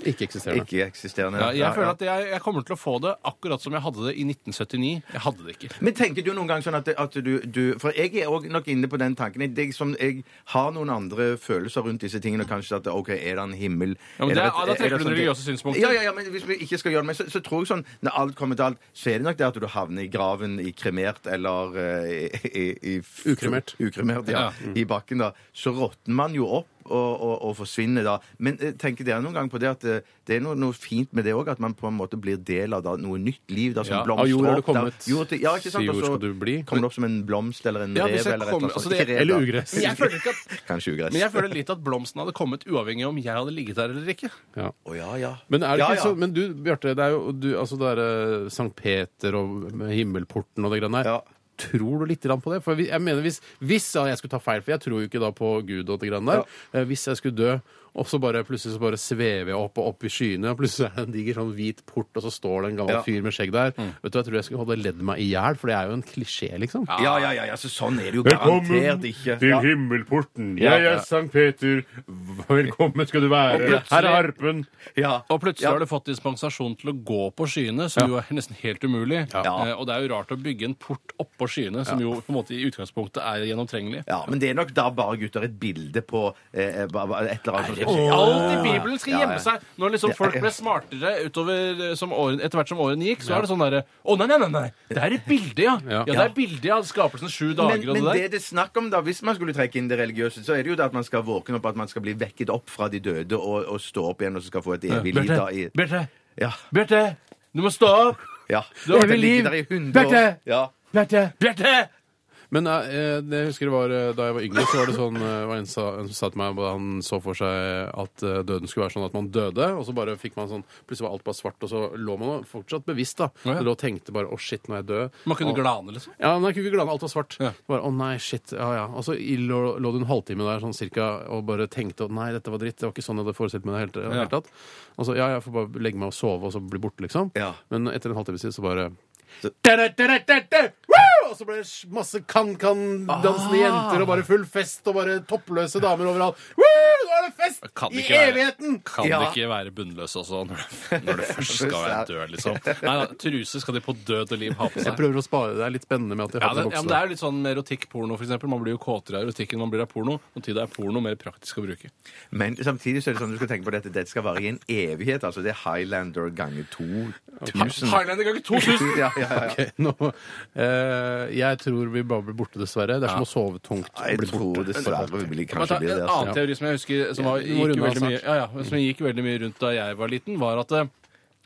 S3: Ikke eksisterende.
S4: Ikke eksisterende.
S5: Ja, jeg
S4: ja,
S5: føler
S4: ja.
S5: at jeg, jeg kommer til å få det akkurat som jeg hadde det i 1979. Jeg hadde det ikke.
S4: Men tenker du noen gang sånn at, at du, du For jeg er også nok inne på den tanken. Jeg, det som, jeg har noen andre følelser rundt disse tingene. og Kanskje at OK, er det en himmel?
S5: Ja, men
S4: Er
S5: det-
S4: et-
S5: ja, da
S4: er
S5: trekker du
S4: det sånn-
S5: religiøse synspunkter.
S4: Ja, ja, ja, men hvis vi ikke skal gjøre det, men så, så tror jeg sånn Når alt kommer til alt, så er det nok det at du havner i graven i kremert eller eh, i, i, i
S3: Ukremert.
S4: Ukremert, ja.
S5: Ja.
S4: I bakken, da. Så råtner man jo opp. Og, og, og forsvinner da. Men eh, tenker dere noen gang på det at eh, det er noe, noe fint med det òg? At man på en måte blir del av da, noe nytt liv? Da, som
S5: Ja, av
S4: blomstrer
S3: jord har
S4: opp,
S3: du
S4: da.
S3: kommet.
S4: Jord til, ja, ikke sant? Og
S3: Si jord
S4: så
S3: skal du bli.
S4: Kommer det opp som en blomst eller en
S5: Ja,
S4: rev
S5: hvis jeg
S4: eller et
S5: kommer- altså,
S4: eller annet sånt.
S5: det-
S4: Ikke rev,
S3: Eller
S4: da.
S3: ugress.
S5: Men jeg føler ikke at
S4: Kanskje ugress.
S5: men jeg føler litt at blomsten hadde kommet uavhengig om jeg hadde ligget der eller ikke.
S3: Ja.
S4: Å, ja, ja.
S3: Men, er det
S4: ja,
S3: ikke
S4: ja.
S3: Så, men du, Bjarte, det er jo du, altså det er eh, Sankt Peter og med himmelporten og det greiene der.
S4: Ja.
S3: Tror du litt grann på det? For vi- jeg mener hvis, hvis ja, jeg skulle ta feil, for jeg tror jo ikke da på Gud og det greiene der, eh, hvis jeg skulle dø og så bare plutselig så bare svever jeg opp og opp i skyene, og plutselig er det en diger sånn hvit port, og så står det en gammel
S4: Ja. Mm.
S3: fyr med skjegg der. Vet du, Jeg tror jeg skulle hadde ledd meg i hjel, for det er jo en klisjé, liksom.
S4: ja, ja, ja, ja, så sånn er det jo garantert ikke. Ja.
S3: himmelporten.
S5: Jeg er
S3: Sankt Peter. Velkommen skal du være.
S5: Her er
S3: harpen.
S4: Ja.
S5: Og plutselig
S4: Ja.
S5: har du fått dispensasjon til å gå på skyene, som jo er nesten helt umulig.
S4: Ja.
S5: Eh, Og det er jo rart å bygge en port oppå skyene, som jo på en måte i utgangspunktet er gjennomtrengelig.
S4: Ja, men det er nok da bare gutter et bilde på eh, eh, ba- ba- et eller annet som skal
S5: Alt i Bibelen skal
S4: Ja, ja.
S5: gjemme seg. Når liksom folk ble smartere utover eh, som åren, etter hvert som årene gikk, så er det sånn derre Å, nei, nei, nei, nei! Det er et bilde, ja! Ja, det er bilde av skapelsen sju
S4: men,
S5: dager og det
S4: men
S5: der.
S4: det det er snakk om da, hvis man skulle trekke inn det religiøse, så er det jo det at man skal våkne opp, at man skal bli vekket opp fra de døde og, og stå opp igjen og så skal få et evig liv da i
S5: Bjarte,
S4: Ja.
S5: Bjarte, du må stå opp!
S4: ja.
S5: Da har vi
S4: Det
S5: liv.
S4: ligger der i 100 år.
S3: Bjarte!
S4: Ja.
S5: Bjarte!
S3: Men eh, det jeg husker det var eh, da jeg var yngre, så var det sånn eh, var en, sa, en som sa til meg at han så for seg at eh, døden skulle være sånn at man døde, og så bare fikk man sånn Plutselig var alt bare svart, og så lå man jo fortsatt bevisst, da.
S5: ja.
S3: Du lå og tenkte bare 'Å, shit, nå er jeg død'.
S5: Man kunne
S3: Og-
S5: glane, liksom.
S3: Ja, men jeg kunne ikke glad i at alt var svart.
S5: Ja.
S3: Bare, å nei, shit, ja ja. Og så i- lå, lå du en halvtime der sånn cirka og bare tenkte at nei, dette var dritt, det var ikke sånn jeg hadde forestilt meg det i det hele tatt. Og så ja, jeg får bare legge meg og sove og så bli borte, liksom.
S4: Ja.
S3: Men etter en halvtime siden så bare
S4: Så-
S3: Da-da-da-da-da-da! Woo! Og så ble det masse kan-kan-dansende jenter og bare full fest og bare toppløse damer overalt. Woo! Nå er det fest!
S5: Kan det
S3: I
S5: ikke være-
S3: evigheten!
S5: Kan
S4: Ja.
S5: det ikke være bunnløs også, når du, når du først skal være død, liksom? Nei, da, truse skal de på død og liv ha på
S3: Jeg
S5: seg.
S3: prøver å spare det. Det er litt spennende med at jeg
S5: Ja,
S3: har
S5: det,
S3: på
S5: ja, men det er jo litt sånn med erotikk-porno, for eksempel. Man blir jo kåtere av erotikk enn man blir av porno. Og til det er porno mer praktisk å bruke.
S4: Men samtidig så er det sånn du skal tenke på at dette, dette skal vare i en evighet. Altså det er Highlander ganger 2000.
S5: Highlander ganger 2000!
S4: Ja, ja, ja.
S3: Ok, nå, eh, jeg tror vi bare blir borte, dessverre. Det er som å sove tungt. og
S4: Jeg
S3: bli
S4: tror
S3: borte.
S4: dessverre vi blir
S5: Kan jeg ta
S4: kanskje blir
S5: en
S4: det.
S5: annen
S4: Altså.
S5: teori som jeg husker som, var,
S3: Ja, vi må
S5: gikk,
S3: runde av
S5: veldig mye,
S3: snart.
S5: ja, ja, som gikk veldig mye rundt da jeg var liten, var at eh,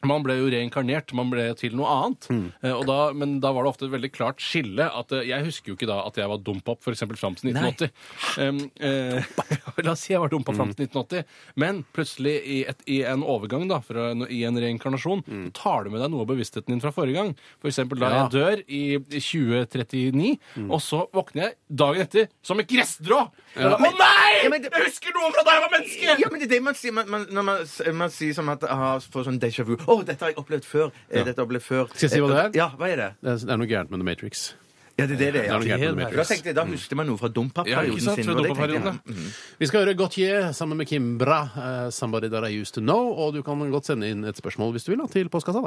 S5: man ble jo reinkarnert, man ble til noe annet.
S4: Hmm.
S5: Eh, Og da, men da var det ofte et veldig klart skille. At, eh, jeg husker jo ikke da at jeg var dompop f.eks. fram til 1980. Um, eh, la oss si jeg var dompop fram til
S4: Hmm.
S5: 1980, men plutselig i, et, i en overgang, da, fra, en- i en reinkarnasjon,
S4: Hmm.
S5: så tar du med deg noe av bevisstheten din fra forrige gang. F.eks. da jeg dør i i 2039, og så våkner jeg dagen etter som et gressdrå! Å nei!
S4: Ja, men det-
S5: Jeg husker noe fra da jeg var menneske!
S4: Ja, men det er det man sier man, man, når man, s- man sier som at aha, får sånn déjà vu. Å, dette har jeg opplevd før. eh, Dette har jeg opplevd før.
S3: Skal jeg si hva det er?
S4: Ja, hva er det?
S3: Det er- det er noe gærent med The Matrix.
S4: Ja, det er det det
S3: Det er noe
S4: er.
S3: gærent med
S7: Helt
S3: det, Mm.
S4: Da
S3: Bjarte.
S4: tenkte jeg, da husker man noe fra
S5: Ja,
S4: dompapperioden
S5: ikke sant?
S4: sin.
S5: Fra
S4: og det tenkte jeg,
S5: dopaperioden,
S4: ja.
S3: Vi skal høre Gautier sammen med Kimbra, eh, 'Somebody That I Used To Know'. Og du kan godt sende inn et spørsmål hvis du vil da, til postkassa.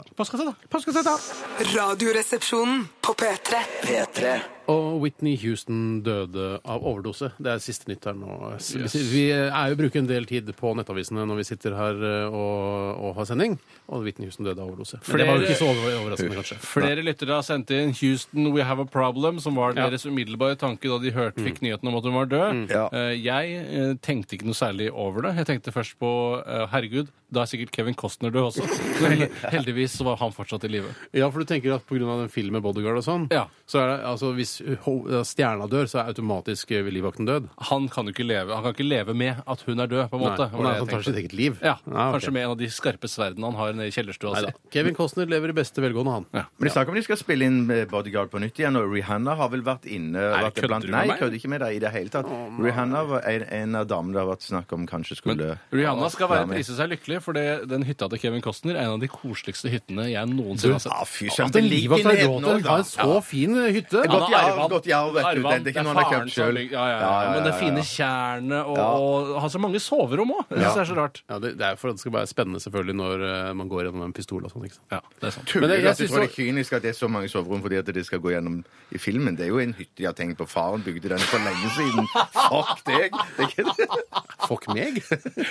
S3: da.
S6: Radioresepsjonen på P3.
S2: P3.
S3: Og Whitney Houston døde av overdose. Det er siste nytt her nå. S- Vi er jo bruker en del tid på nettavisene når vi sitter her eh, og, og har sending, og Whitney Houston døde av overdose. Men det var jo ikke så over- overraskende, kanskje.
S5: Flere lyttere har sendt inn 'Houston, we have a problem', som var deres umiddelbare tanke da de hørte,
S3: Mm.
S5: fikk nyheten om at hun var død.
S4: Ja.
S5: Eh, Jeg eh, tenkte ikke noe særlig over det. Jeg tenkte først på eh, 'herregud, da er sikkert Kevin Costner død også'. Men heldigvis så var han fortsatt i live.
S3: Ja, for du tenker at pga. den filmen 'Bodyguard' og sånn,
S5: Ja.
S3: så er det altså hvis ho- stjerna dør, så er automatisk eh, livvakten død?
S5: Han kan jo ikke leve, han kan ikke leve med at hun er død, på en måte.
S3: Nei,
S5: var det jeg
S3: han tar
S5: tenkte.
S3: sitt eget liv. Ah,
S5: Ja,
S4: Ah,
S3: ok.
S5: Kanskje med en av de skarpe sverdene han har nede i altså. kjellerstua
S3: Neida.
S5: si.
S3: Kevin Costner lever i beste velgående, han.
S5: Ja.
S4: Men det er snakk om de skal spille inn eh, Bodyguard på nytt igjen, og Rihanna har vel vært inne vært
S5: kødder
S4: blant-
S5: du med meg?
S4: Nei, jeg kødder ikke med deg i det hele tatt. Rihanna var en, en av damene det har vært snakk om kanskje skulle
S5: Rihanna skal være
S4: Ja, men-
S5: prise seg lykkelig, for det, den hytta til Kevin Costner er en av de koseligste hyttene jeg
S3: Du,
S5: noensinne har
S4: Ja,
S5: sett.
S4: ah,
S5: Altså,
S4: fy søren,
S3: At en
S4: det ligger
S3: livvakt har
S4: ned
S3: råd
S4: nå,
S3: til å
S4: da.
S3: ha en så fin eh, hytte!
S5: Han
S4: Godt
S5: har
S4: i arv,
S5: arvet-
S4: godt i arv, vet du.
S5: arvet-
S4: Det- det er ikke noe han har
S5: faren
S4: kjøpt
S5: som
S4: selv.
S5: ligger- Ja, ja, ja,
S4: Ja, ja,
S5: Men det
S4: ja,
S5: fine
S4: ja.
S5: tjernet og,
S4: Ja.
S5: og har så mange soverom òg. Det synes jeg er så rart.
S3: Ja, det, det er for at det skal være spennende selvfølgelig når eh, man går gjennom en pistol og sånn. ikke sant?
S5: Ja, det er sant.
S4: Tuller
S3: Men det-
S4: du
S3: jeg
S4: at du
S3: synes
S4: tror det er
S3: så-
S4: kynisk at det er så mange soverom fordi at de skal gå gjennom i filmen? Det er jo en hytte de har tenkt på. Faren bygde den for lenge siden. Fuck deg! Det er ikke det.
S3: Fuck meg!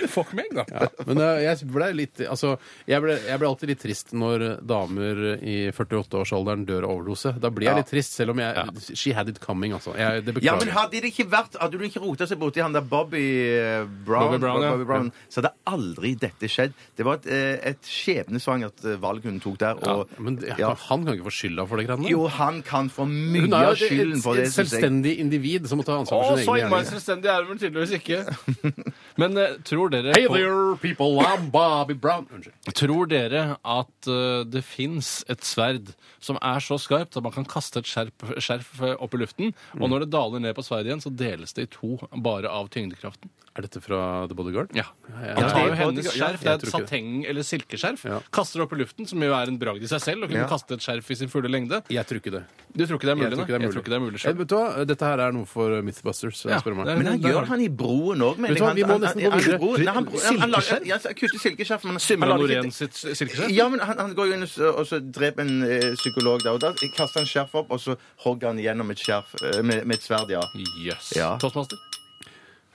S5: Fuck meg, da.
S3: Ja, men eh, jeg ble litt Altså, jeg ble, jeg ble alltid litt trist når eh, damer i 48-årsalderen dør av overdose. Da blir jeg litt trist, selv om jeg She had it coming, altså. Jeg, det
S4: Ja, men
S3: beklager jeg.
S4: hadde det ikke vært Hadde du ikke rota seg borti han der Bobby eh, Brown,
S5: Bobby Brown, ja.
S4: så hadde aldri dette skjedd. Det var et, eh, et skjebnesvangert eh, valg hun tok der. Og,
S3: Men det-
S4: ja.
S3: han kan ikke få skylda for det greiene
S4: Jo, han kan få mye
S3: Hun er
S4: av
S3: jo et,
S4: skylden
S3: et,
S4: for det.
S3: et selvstendig individ som må ta ansvar for sine egne gjerninger.
S5: selvstendig er hun vel tydeligvis ikke. Men eh, tror dere
S3: Hey
S5: på-
S3: there, people, I'm Bobby Brown. Unnskyld.
S5: Tror dere at eh, det fins et sverd som er så skarpt at man kan kaste et skjerp, skjerf eh, opp i luften, og når det daler ned på sverdet igjen, så deles det i to bare av tyngdekraften?
S3: Er dette fra The Bodyguard?
S5: Ja.
S3: Ja,
S5: Han tar
S4: det
S5: jo
S4: er
S5: hennes
S4: bodyguard. Ja,
S5: skjerf, det er
S3: jeg
S5: et
S3: tror ikke det.
S5: sateng- eller silkeskjerf,
S3: Ja.
S5: kaster det opp i luften, som jo er en bragd i seg selv, å kunne
S4: Ja.
S5: kaste et skjerf i sin fulle lengde.
S3: Jeg tror ikke det.
S5: Du tror ikke det er
S3: Jeg
S5: mulig?
S3: tror ikke det er
S5: Jeg
S3: mulig.
S5: tror ikke det er mulig
S3: Eh,
S5: selv.
S3: Vet du hva? Dette her er noe for Mythbusters.
S5: Ja,
S3: spør du meg.
S5: det er-
S4: Men
S5: Der
S4: han
S5: har
S4: gjør
S5: du-
S4: han i broen òg,
S3: Vet du hva, vi må nesten gå videre. Silkeskjerf?
S4: Kutter silkeskjerf, men
S5: Symra
S4: han lar ikke-
S5: Norén sitt silkeskjerf?
S4: Ja, men han, han går jo inn og så- og så dreper en eh, psykolog der, og da kaster han skjerf opp, og så hogger han gjennom et skjerf eh, med, med et sverd, ja.
S5: Yes.
S4: Ja.
S5: Toastmaster,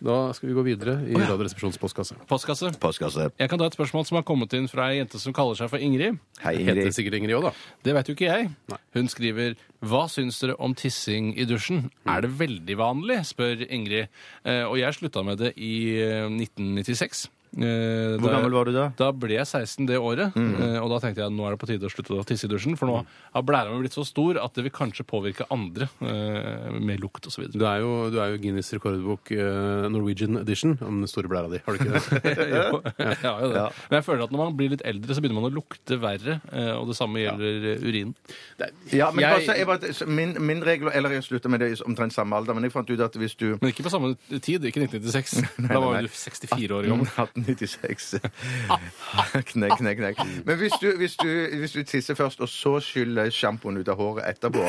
S3: Da skal vi gå videre i Radioresepsjonens postkasse.
S5: postkasse.
S4: Postkasse.
S5: Jeg kan ta et spørsmål som har kommet inn fra ei jente som kaller seg for Ingrid.
S4: Hei,
S3: Heter
S4: Ingrid.
S3: sikkert Ingrid òg, da.
S5: Det vet jo ikke jeg. Hun skriver Hva syns dere om tissing i dusjen? Er det veldig vanlig? spør Ingrid. Eh, og jeg slutta med det i eh, 1996. Eh,
S4: Hvor
S5: da-
S4: gammel var du da? Mm.
S5: Da ble jeg 16 det året. Eh, og da tenkte jeg nå er det på tide å slutte å tisse i dusjen, for nå har blæra mi blitt så stor at det vil kanskje påvirke andre eh, med lukt osv.
S3: Du er jo, du er jo Guinness rekordbok eh, Norwegian edition om den store blæra di. Har du ikke det?
S5: jo, jeg har jo det. Men jeg føler at når man blir litt eldre, så begynner man å lukte verre. eh, Og det samme gjelder eh, urin.
S4: Ja, men bare
S3: Jeg-
S4: så- jeg, bare- så min, min regel, eller jeg slutta med det i omtrent samme alder, men jeg fant ut at hvis du
S5: Men ikke på samme tid. Ikke 1996. da var jo
S4: nei.
S5: du 64 år gammel.
S4: Mm. 1896.
S5: Ah.
S4: Knekk, knekk, knekk. Men hvis du, hvis, du, hvis du tisser først, og så skyller sjampoen ut av håret etterpå,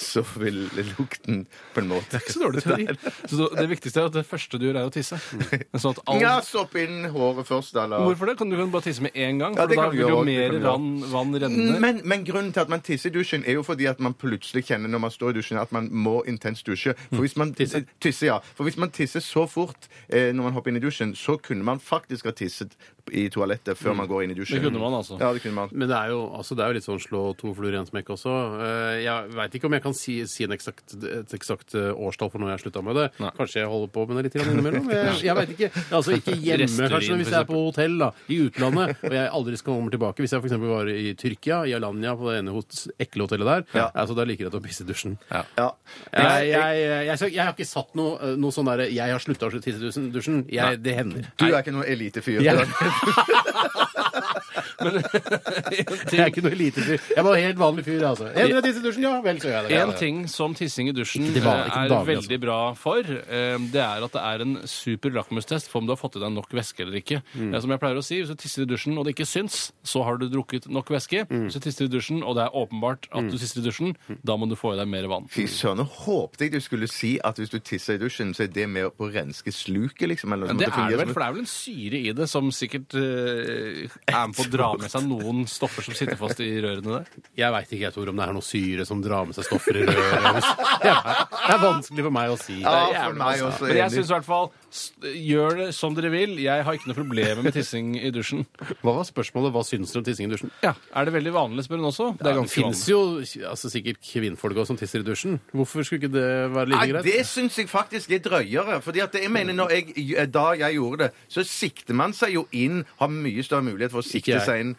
S4: så vil lukten på en måte
S5: Ikke så dårlig teori. Så det viktigste er at det første du gjør, er å tisse. Sånn at all...
S4: Ja, sopp inn håret først, eller
S5: Hvorfor det? Kan du kan bare tisse med én gang?
S4: Ja,
S5: For
S4: det
S5: da
S4: kan vi
S5: vil jo
S4: gjøre, det
S5: mer
S4: kan vi gjøre.
S5: vann, vann renne ned.
S4: men, men grunnen til at man tisser i dusjen, er jo fordi at man plutselig kjenner når man står i dusjen, at man må intenst dusje.
S5: Mm.
S4: For hvis man tisser, ja. For hvis man tisser så fort eh, når man hopper inn i dusjen, så kunne man faktisk ha tisset i toalettet før man går inn i dusjen.
S5: Mm. Det kunne man, altså.
S4: Ja, det kunne man.
S3: Men det er, jo, altså, det er jo litt sånn slå to fluer i en smekk også. Eh, jeg veit ikke om jeg kan si, si en eksakt, et eksakt eh, årstall for når jeg slutta med det. Kanskje jeg holder på med det litt grann innimellom. Jeg, jeg vet ikke. Altså ikke hjemme,
S5: Restaurin,
S3: kanskje, men hvis
S5: for
S3: jeg er på hotell da, i utlandet og jeg aldri skal komme tilbake. Hvis jeg f.eks. var i Tyrkia, i Alanya, på det ene hot- ekle hotellet der,
S4: Ja.
S3: altså, da liker jeg å pisse i dusjen.
S4: Ja.
S3: Jeg, jeg, jeg, jeg, jeg har ikke satt noe, noe sånn derre 'jeg har slutta å tisse i dusjen'. Jeg, det hender.
S4: Du er ikke noen elitefyr.
S3: Ja.
S4: Ja.
S5: Men
S3: Jeg er ikke noe elitefyr. Jeg var helt vanlig fyr, altså. En av disse dusjen, ja. Vel, så gjør jeg det.
S5: En ting som tissing i dusjen
S3: Ikke til vanlig,
S5: eh,
S3: ikke
S5: er
S3: til
S4: altså.
S3: daglig,
S5: veldig bra for, eh, det er at det er en super lakmustest for om du har fått i deg nok væske eller ikke.
S4: Mm.
S5: Eh, Som jeg pleier å si, hvis du tisser i dusjen og det ikke syns, så har du drukket nok væske.
S4: Mm.
S5: Hvis du tisser i dusjen og det er åpenbart at du tisser i dusjen, da må du få i deg mer vann.
S4: Fy søren, nå håpte jeg du skulle si at hvis du tisser i dusjen, så er det med på å renske sluket, liksom. Eller, noe
S5: Men
S4: sånt.
S5: det er det
S4: fungerer
S5: vel,
S4: som-
S5: for det er vel en syre i det som sikkert eh, er med på å dra med seg noen stoffer som sitter fast i rørene der.
S3: Jeg veit ikke, jeg tror, om det er noe syre som drar med seg stoffer i røret. Det er vanskelig for meg å si.
S4: Ja,
S5: Det er
S4: for
S5: jævlig
S4: meg
S5: masse.
S4: også.
S5: Men jeg
S4: enig.
S5: syns i hvert fall s- gjør det som dere vil. Jeg har ikke noe problem med tissing i dusjen.
S3: Hva var spørsmålet? Hva syns dere om tissing i dusjen?
S5: Ja, Er det veldig vanlig, spør hun også? Det er ganske
S3: finnes
S5: vanlig.
S3: jo altså, sikkert kvinnfolk også som tisser i dusjen. Hvorfor skulle ikke det være like
S4: Nei,
S3: greit?
S4: det syns jeg faktisk er drøyere. Fordi at jeg mener, når jeg, eh, da jeg gjorde det, så sikter man seg jo inn, har mye større mulighet for å sikte
S3: jeg.
S4: seg inn.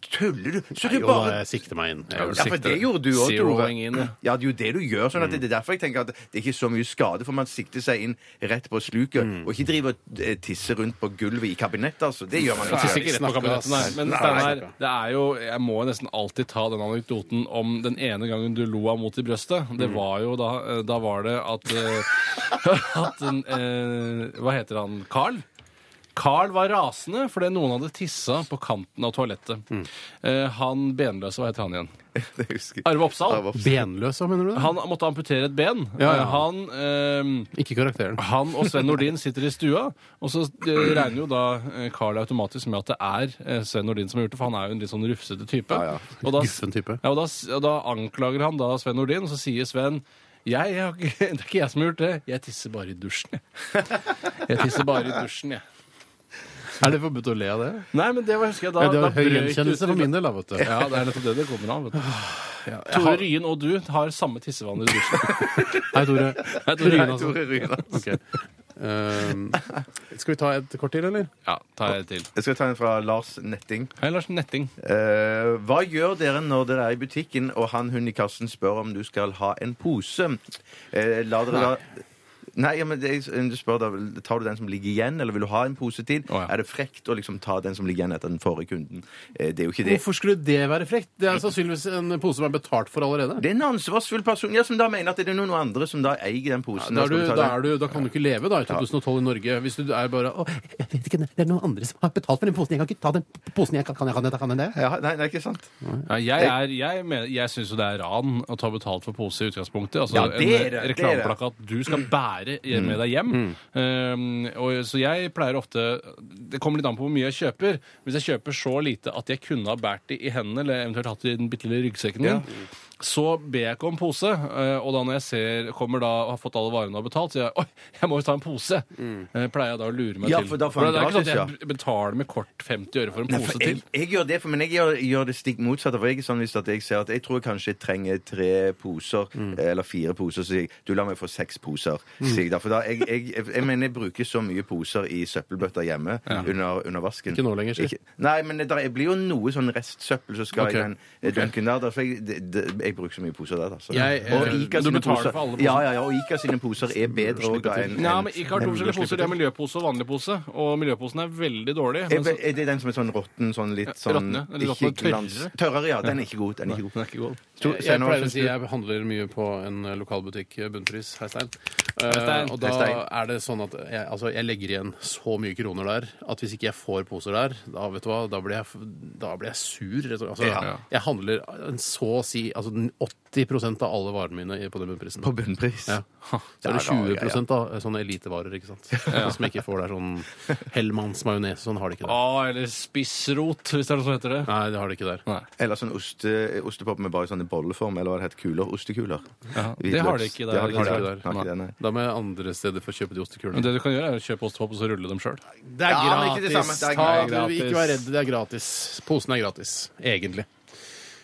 S4: Tuller du? Så du
S3: Jo,
S4: bare
S3: jeg sikter meg inn. Jeg gjør
S4: ja,
S3: det.
S4: for det gjorde du òg, Tore.
S5: Zeroing inn, ja.
S4: Ja, det er jo det du gjør. sånn at Det er derfor jeg tenker at det er ikke så mye skade, for man sikter seg inn rett på sluket.
S5: Mm.
S4: Og ikke driver og eh, tisser rundt på gulvet i kabinettet, altså. Det gjør man
S5: Ikke
S4: ikke.
S5: sikkert rett på
S3: snakker,
S5: kabinetten her,
S3: ass.
S5: men
S3: Nei,
S5: Steinar,
S3: snakker.
S5: det er jo Jeg må jo nesten alltid ta den anekdoten om den ene gangen du lo av mot i brøstet.
S3: Mm.
S5: Det var jo da eh, Da var det at, eh, at en, eh, Hva heter han? Carl? Carl var rasende fordi noen hadde tissa på kanten av toalettet.
S3: Mm.
S5: Eh, han benløse, hva heter han igjen?
S4: Det husker jeg.
S5: Arve Oppsal.
S4: Arve Oppsal.
S3: Benløs, hva mener du? da?
S5: Han måtte amputere et ben.
S3: Ja, ja.
S5: Eh, Han ehm,
S3: Ikke karakteren.
S5: Han og Sven Nordin sitter i stua, og så eh, regner jo da eh, Carl automatisk med at det er eh, Sven Nordin som har gjort det, for han er jo en litt sånn rufsete type. Og da,
S3: Guffen type.
S5: ja, og da, og da anklager han da Sven Nordin, og så sier Sven jeg, jeg, har ikke- det er ikke jeg som har gjort det. Jeg tisser bare i dusjen, jeg. Jeg tisser bare i dusjen, jeg.
S3: Er det forbudt å le av det?
S5: Nei, men det var, husker jeg da,
S3: Ja, det
S5: da
S3: var høy
S5: brøt
S3: gjenkjennelse
S5: ut-
S3: for min del, da, vet du.
S5: Ja, det er nettopp det det kommer av. vet du.
S3: Jeg
S5: Tore
S3: har-
S5: Ryen og du har samme tissevaner i dusjen.
S3: Hei, Tore.
S5: Hei, Tore.
S3: Ryen,
S5: Hei,
S3: altså.
S4: Tore Ryland.
S3: Ok. Um, skal vi ta et kort til, eller?
S5: Ja, tar jeg til.
S4: Jeg skal ta en fra Lars Netting.
S5: Hei, Lars Netting.
S4: Eh, hva gjør dere når dere er i butikken og han hun i kassen spør om du skal ha en pose? Eh, la dere da Nei, ja, men det, du spør da, vel, Tar du den som ligger igjen, eller vil du ha en pose til?
S5: Å, ja.
S4: Er det frekt å liksom ta den som ligger igjen etter den forrige kunden? Eh, det er jo ikke det.
S3: Hvorfor skulle det være frekt? Det er sannsynligvis en pose som er betalt for allerede.
S4: Det er en ansvarsfull person ja, som da mener at det er noen andre som da eier den posen.
S3: Da,
S4: og
S3: er du,
S4: skal
S3: da,
S4: betale.
S3: er du, da kan du ikke leve da i 2012 i Norge hvis du er bare Å, jeg vet ikke, det er noen andre som har betalt for den posen. Jeg kan ikke ta den posen. Jeg kan, kan jeg, kan jeg, kan jeg det?
S4: ja, Nei, det er ikke sant.
S5: Ja, jeg er, jeg, mener- jeg syns jo det er ran å ta betalt for pose i utgangspunktet. Altså
S4: Ja, det er det, Mm. det
S5: en
S4: er det.
S5: reklameplakat du skal bære hjem- med deg hjem. Um, og, så jeg pleier ofte Det kommer litt an på hvor mye jeg kjøper. Hvis jeg kjøper så lite at jeg kunne ha båret det i hendene, eller eventuelt hatt det i den bitte lille ryggsekken min, så ber jeg ikke om pose. eh, Og da når jeg ser, kommer da og har fått alle varene og betalt, så jeg, oi, jeg må jo ta en pose. Eh, Pleier jeg da å lure meg
S4: Mm. Ja,
S5: til.
S4: for da får han
S5: det er ikke sånn at
S4: gratis,
S5: jeg betaler med kort 50 øre for en
S4: Nei,
S5: pose
S4: for jeg,
S5: til.
S4: jeg gjør det, for, men jeg gjør, gjør det stikk motsatte. For jeg er sånn hvis at jeg ser at jeg tror jeg kanskje jeg trenger tre poser,
S5: Mm.
S4: eh, eller fire poser, så sier jeg du la meg få seks poser. sier jeg da. For da, jeg, jeg, jeg, jeg mener jeg bruker så mye poser i søppelbøtta hjemme under, under vasken.
S3: Ikke nå lenger, sier.
S4: Ikke- Nei, men det, der, jeg blir jo noe sånn restsøppel som skal
S3: Ok.
S4: i den eh, dunken der. da, For jeg, det, det, jeg bruker så mye poser der, altså.
S3: Jeg, eh,
S4: og Ica
S5: du
S4: sine
S5: betaler
S4: poser,
S5: for alle
S4: Ja, ja, ja, og Ica sine poser er bedre òg, da. enn-
S5: Ja,
S4: enn-
S5: men ikke har to
S4: enn-
S5: forskjellige poser. De har miljøpose og vanlig pose. Og miljøposen er veldig dårlig.
S4: Er,
S5: Men så,
S4: er det den som er sånn råtten, sånn litt
S5: Ja,
S4: sånn
S5: råtne, eller råtne,
S4: ikke glans-
S5: tørrere.
S4: Tørrere, ja. Den er ikke god. Den er ikke god.
S5: den er ikke god.
S4: Tor-
S3: Jeg, jeg
S4: Steinar, hva
S3: pleier å
S4: syns
S3: si
S4: du?
S3: jeg handler mye på en eh, lokalbutikk, eh, bunnpris, hei Stein. Eh,
S5: Stein.
S3: og da
S4: Hei, Stein.
S3: er det sånn at jeg, altså, jeg legger igjen så mye kroner der at hvis ikke jeg får poser der, da vet du hva, da blir jeg, f- da blir jeg sur. rett og slett. Altså,
S4: Ja.
S3: Jeg handler eh, så å si altså, den 80 av alle varene mine i- på den bunnprisen.
S4: På bunnpris.
S3: Ja. Så er det
S4: Det er rar greie.
S3: 20 da, eh, sånne elitevarer, ikke sant. Som jeg ikke får der sånn Hellmanns majones, sånn har de
S5: Å,
S3: ikke der.
S5: eller spissrot, hvis det er noe som heter det.
S3: Nei, det har de ikke der.
S5: Nei.
S4: Eller sånn oste, ostepop med bare sånne bolleform, eller hva det heter, kuler, ostekuler.
S5: Ja, det
S4: Hvitløks.
S5: har de ikke der.
S4: Det har de
S5: Det
S4: ikke
S5: har
S3: de
S4: der.
S3: ikke
S5: der.
S4: Har ikke det, nei.
S3: Da må jeg andre steder få kjøpe de
S5: Men
S3: ostekulene.
S5: det du kan gjøre, er å kjøpe ostepop og så rulle dem sjøl.
S3: Det er
S4: Ja, men ikke det
S3: gratis!
S4: samme. Det er
S3: Ta,
S4: gratis.
S3: dere vil ikke være redd, det er gratis. Posen er gratis, egentlig.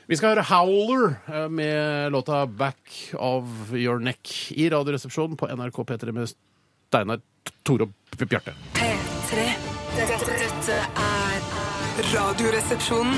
S3: Vi skal høre Howler eh, med låta 'Back of Your Neck' i Radioresepsjonen på NRK P3 med Steinar, Tore og Bjarte.
S6: P3. Dette, dette er Radioresepsjonen.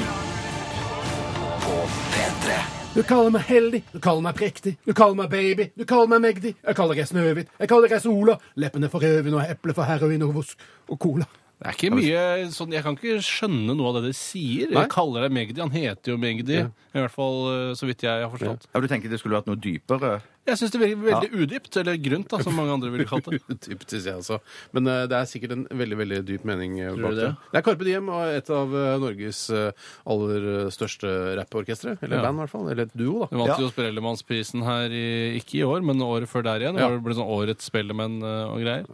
S2: P3
S3: Du kaller meg heldig, du kaller meg prektig, du kaller meg baby, du kaller meg mektig. Jeg kaller deg Snøhvit, jeg kaller deg Sola. Leppene for rødvin og eple for heroin og vosk og cola.
S5: Det er ikke mye sånn, Jeg kan ikke skjønne noe av det de sier.
S3: Nei.
S5: Jeg kaller deg Magdi. Han heter jo Magdi. I hvert fall eh, så vidt jeg har forstått.
S4: Ja, du tenker det skulle vært noe dypere?
S5: Jeg syns det virker veldig udypt. Eller grunt, da, som mange andre ville kalt det.
S3: Dypt, synes jeg også. Men eh, det er sikkert en veldig veldig dyp mening eh,
S5: Tror
S3: bak
S5: du
S3: det.
S5: det?
S3: Det er Carpe Diem og et av eh, Norges eh, aller eh, største rapporkestre. Eller
S5: Ja.
S3: band, i hvert fall. Eller et duo, da.
S5: Du vant
S4: Ja.
S5: jo Spellemannsprisen her, i, ikke i år, men året før der igjen.
S3: Ja.
S5: Hvor det ble sånn Årets Spellemann eh, og greier.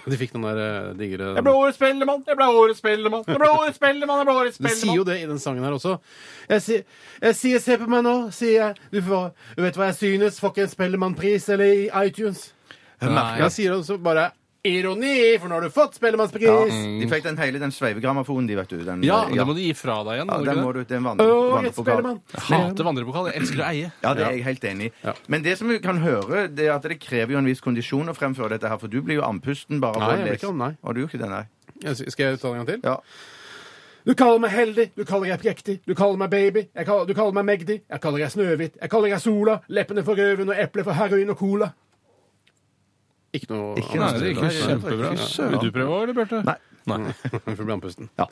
S3: Og de fikk den der eh, digre
S5: årets Spellemann! Jeg ble årets Spellemann! Jeg ble årets Spellemann! Jeg ble årets
S3: De sier jo det i den sangen her også. Jeg sier, jeg sier 'se på meg nå', sier jeg. Du får, vet hva jeg synes, får ikke en Spellemannpris eller i iTunes.
S5: Nei.
S3: Jeg sier også bare ironi, for nå har du fått Spellemannspris!
S4: De fikk den hele den sveivegrammofonen, de, vet du. Den,
S5: Mm. Ja, men det må du gi fra deg igjen.
S4: ja,
S5: må du
S4: den
S5: ikke
S4: må
S5: det?
S4: du Det er en vandre-
S3: Og et
S4: vandrepokal.
S3: Spellemann.
S5: Jeg hater vandrepokal. Jeg elsker å eie.
S4: Ja, det er jeg helt enig i. Men det som vi kan høre, det er at det krever jo en viss kondisjon å fremføre dette her, for du blir jo andpusten bare av
S3: Nei,
S4: å
S3: jeg blir
S4: lese.
S3: ikke an- nei.
S4: Å, du gjør ikke det, nei.
S3: Jeg sy- Skal jeg ta den en gang til?
S4: Ja.
S3: Du kaller meg heldig, du kaller meg prektig, du kaller meg baby, jeg kaller, du kaller meg Magdi, jeg kaller deg Snøhvit, jeg kaller deg Sola, leppene for røven og eplet for heroin og cola. Ikke noe
S4: Ikke
S5: Nei,
S4: noe
S5: det gikk jo
S4: Nei, det er
S5: kjempebra.
S4: ikke søren.
S5: Vil du prøve òg, eller, Bjarte?
S4: Nei.
S3: Vi får bli andpusten.
S4: Ja.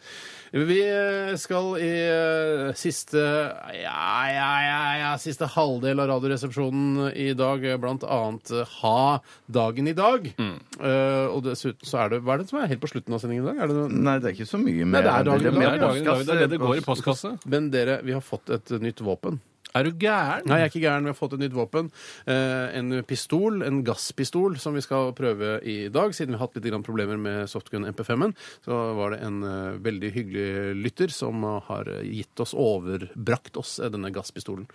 S3: Vi eh, skal i eh, siste ja, ja, ja, ja, siste halvdel av Radioresepsjonen i dag eh, blant annet eh, ha dagen i dag. Eh, og dessuten så er det Hva er det som er helt på slutten av sendingen i dag? Er det noe,
S4: Nei, det er ikke så mye mer.
S3: det er dagen i
S4: mer
S3: dag.
S5: Det er dagen i dag. Det er det det går i
S4: postkasse.
S5: postkasse.
S3: men dere, vi har fått et eh, nytt våpen.
S5: Er du gæren?
S3: Nei, jeg er ikke gæren. Vi har fått et nytt våpen. Eh, en pistol, en gasspistol, som vi skal prøve i dag. Siden vi har hatt litt grann problemer med softgun MP5-en, så var det en eh, veldig hyggelig lytter som eh, har eh, gitt oss, overbrakt oss, eh, denne gasspistolen.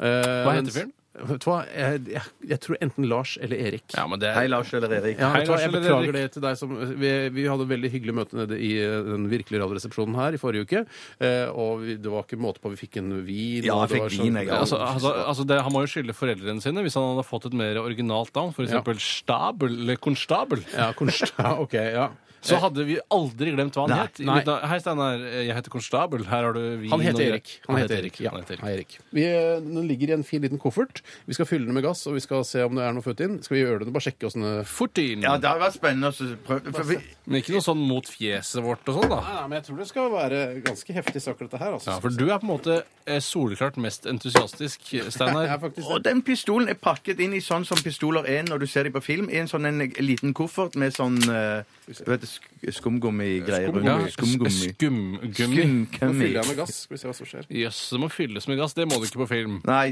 S3: Eh,
S5: Hva heter
S3: mens-
S5: fyren?
S3: Vet du hva? Jeg, jeg, jeg tror enten Lars eller Erik.
S5: Ja, men det
S4: Hei,
S5: er
S4: Lars eller Erik.
S3: Ja,
S5: Hei,
S3: vet du hva,
S5: Lars
S3: jeg
S5: eller
S3: beklager
S5: Erik.
S3: det til deg som Vi, vi hadde veldig hyggelig møte nede i eh, den virkelige radioresepsjonen her i forrige uke. Eh, og vi, det var ikke måte på. Vi fikk en vin.
S4: Ja, jeg
S3: og det
S4: fikk
S3: var sånn-
S4: vin, jeg, ja.
S5: Altså, altså, altså det, Han må jo skylde foreldrene sine hvis han hadde fått et mer originalt navn, f.eks.
S3: Ja.
S5: eksempel Stabel eller Konstabel.
S3: Ja, konst... ja, ok, ja.
S5: Så hadde vi aldri glemt hva han
S4: Nei,
S5: het. I
S3: nei.
S5: mitt navn- Hei, Steinar. Jeg heter Konstabel. Her har du vin.
S3: Han
S5: og
S3: heter
S5: greier.
S3: Erik. Han heter Erik. Ja.
S5: Han heter Erik.
S3: Hei, Erik. Vi, eh, den ligger i en fin liten koffert. Vi skal fylle den med gass, og vi skal se om det er noe futt inn. Skal vi gjøre det? Bare sjekke eh? åssen det
S5: 14.
S4: Ja, det har vært spennende å prøve for vi-
S5: Men ikke noe sånn mot fjeset vårt og sånn, da.
S3: Nei, nei, men jeg tror det skal være ganske heftig sak, dette her. Altså.
S5: Ja, For du er på en måte eh, soleklart mest entusiastisk,
S3: Jeg
S5: Steinar.
S3: er faktisk...
S4: Og den pistolen er pakket inn i sånn som pistoler er når du ser dem på film, i en sånn en liten koffert med sånn eh, du vet, sk- skumgummigreier
S5: Ja,
S4: rundt. Skumgummi.
S5: Skumgummi.
S3: Nå fyller jeg
S4: Skumgummi.
S3: med gass. Skal vi se hva som skjer.
S5: Jøss, det må fylles med gass. Det må du ikke på film.
S4: Nei.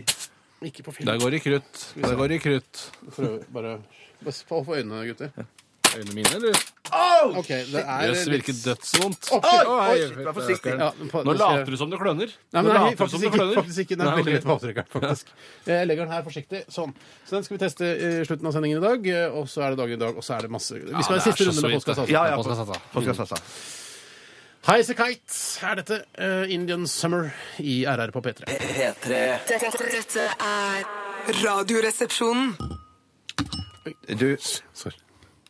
S3: Ikke på film.
S5: Der går det i krutt. Der går det i krutt.
S3: Prøv, bare bare få for øynene, gutter.
S5: Øynene mine, eller?
S4: Åh!
S3: OK, det er
S5: Jøss, det virker dødsvondt.
S3: Å,
S4: Oi,
S3: shit.
S5: Å,
S4: oi,
S5: hei,
S4: shit, vær forsiktig.
S3: Ja, på-
S5: Nå
S3: nå skal jeg-
S5: later du som du kløner.
S3: Nei,
S5: Nå
S3: men nei,
S5: later du som
S3: faktisk
S5: du
S3: ikke.
S5: kløner.
S3: Faktisk ikke. Den er
S5: Nei, ok.
S3: veldig lett på avtrykkeren, faktisk. Jeg legger den her forsiktig. Sånn. Så den skal vi teste i slutten av sendingen i dag. eh, Og så er det dagen i dag, og så er det masse Vi skal ha
S5: det
S3: en siste
S5: er så altså.
S3: runde
S5: så
S3: med
S5: vidt,
S3: altså.
S5: det.
S3: postkassa.
S4: Ja, ja.
S5: Postkassa.
S4: Postkassa.
S3: Highasakite er dette. eh, Indian Summer i RR på P3.
S2: P3
S6: Dette, dette er Radioresepsjonen.
S4: Du,
S3: Sorry.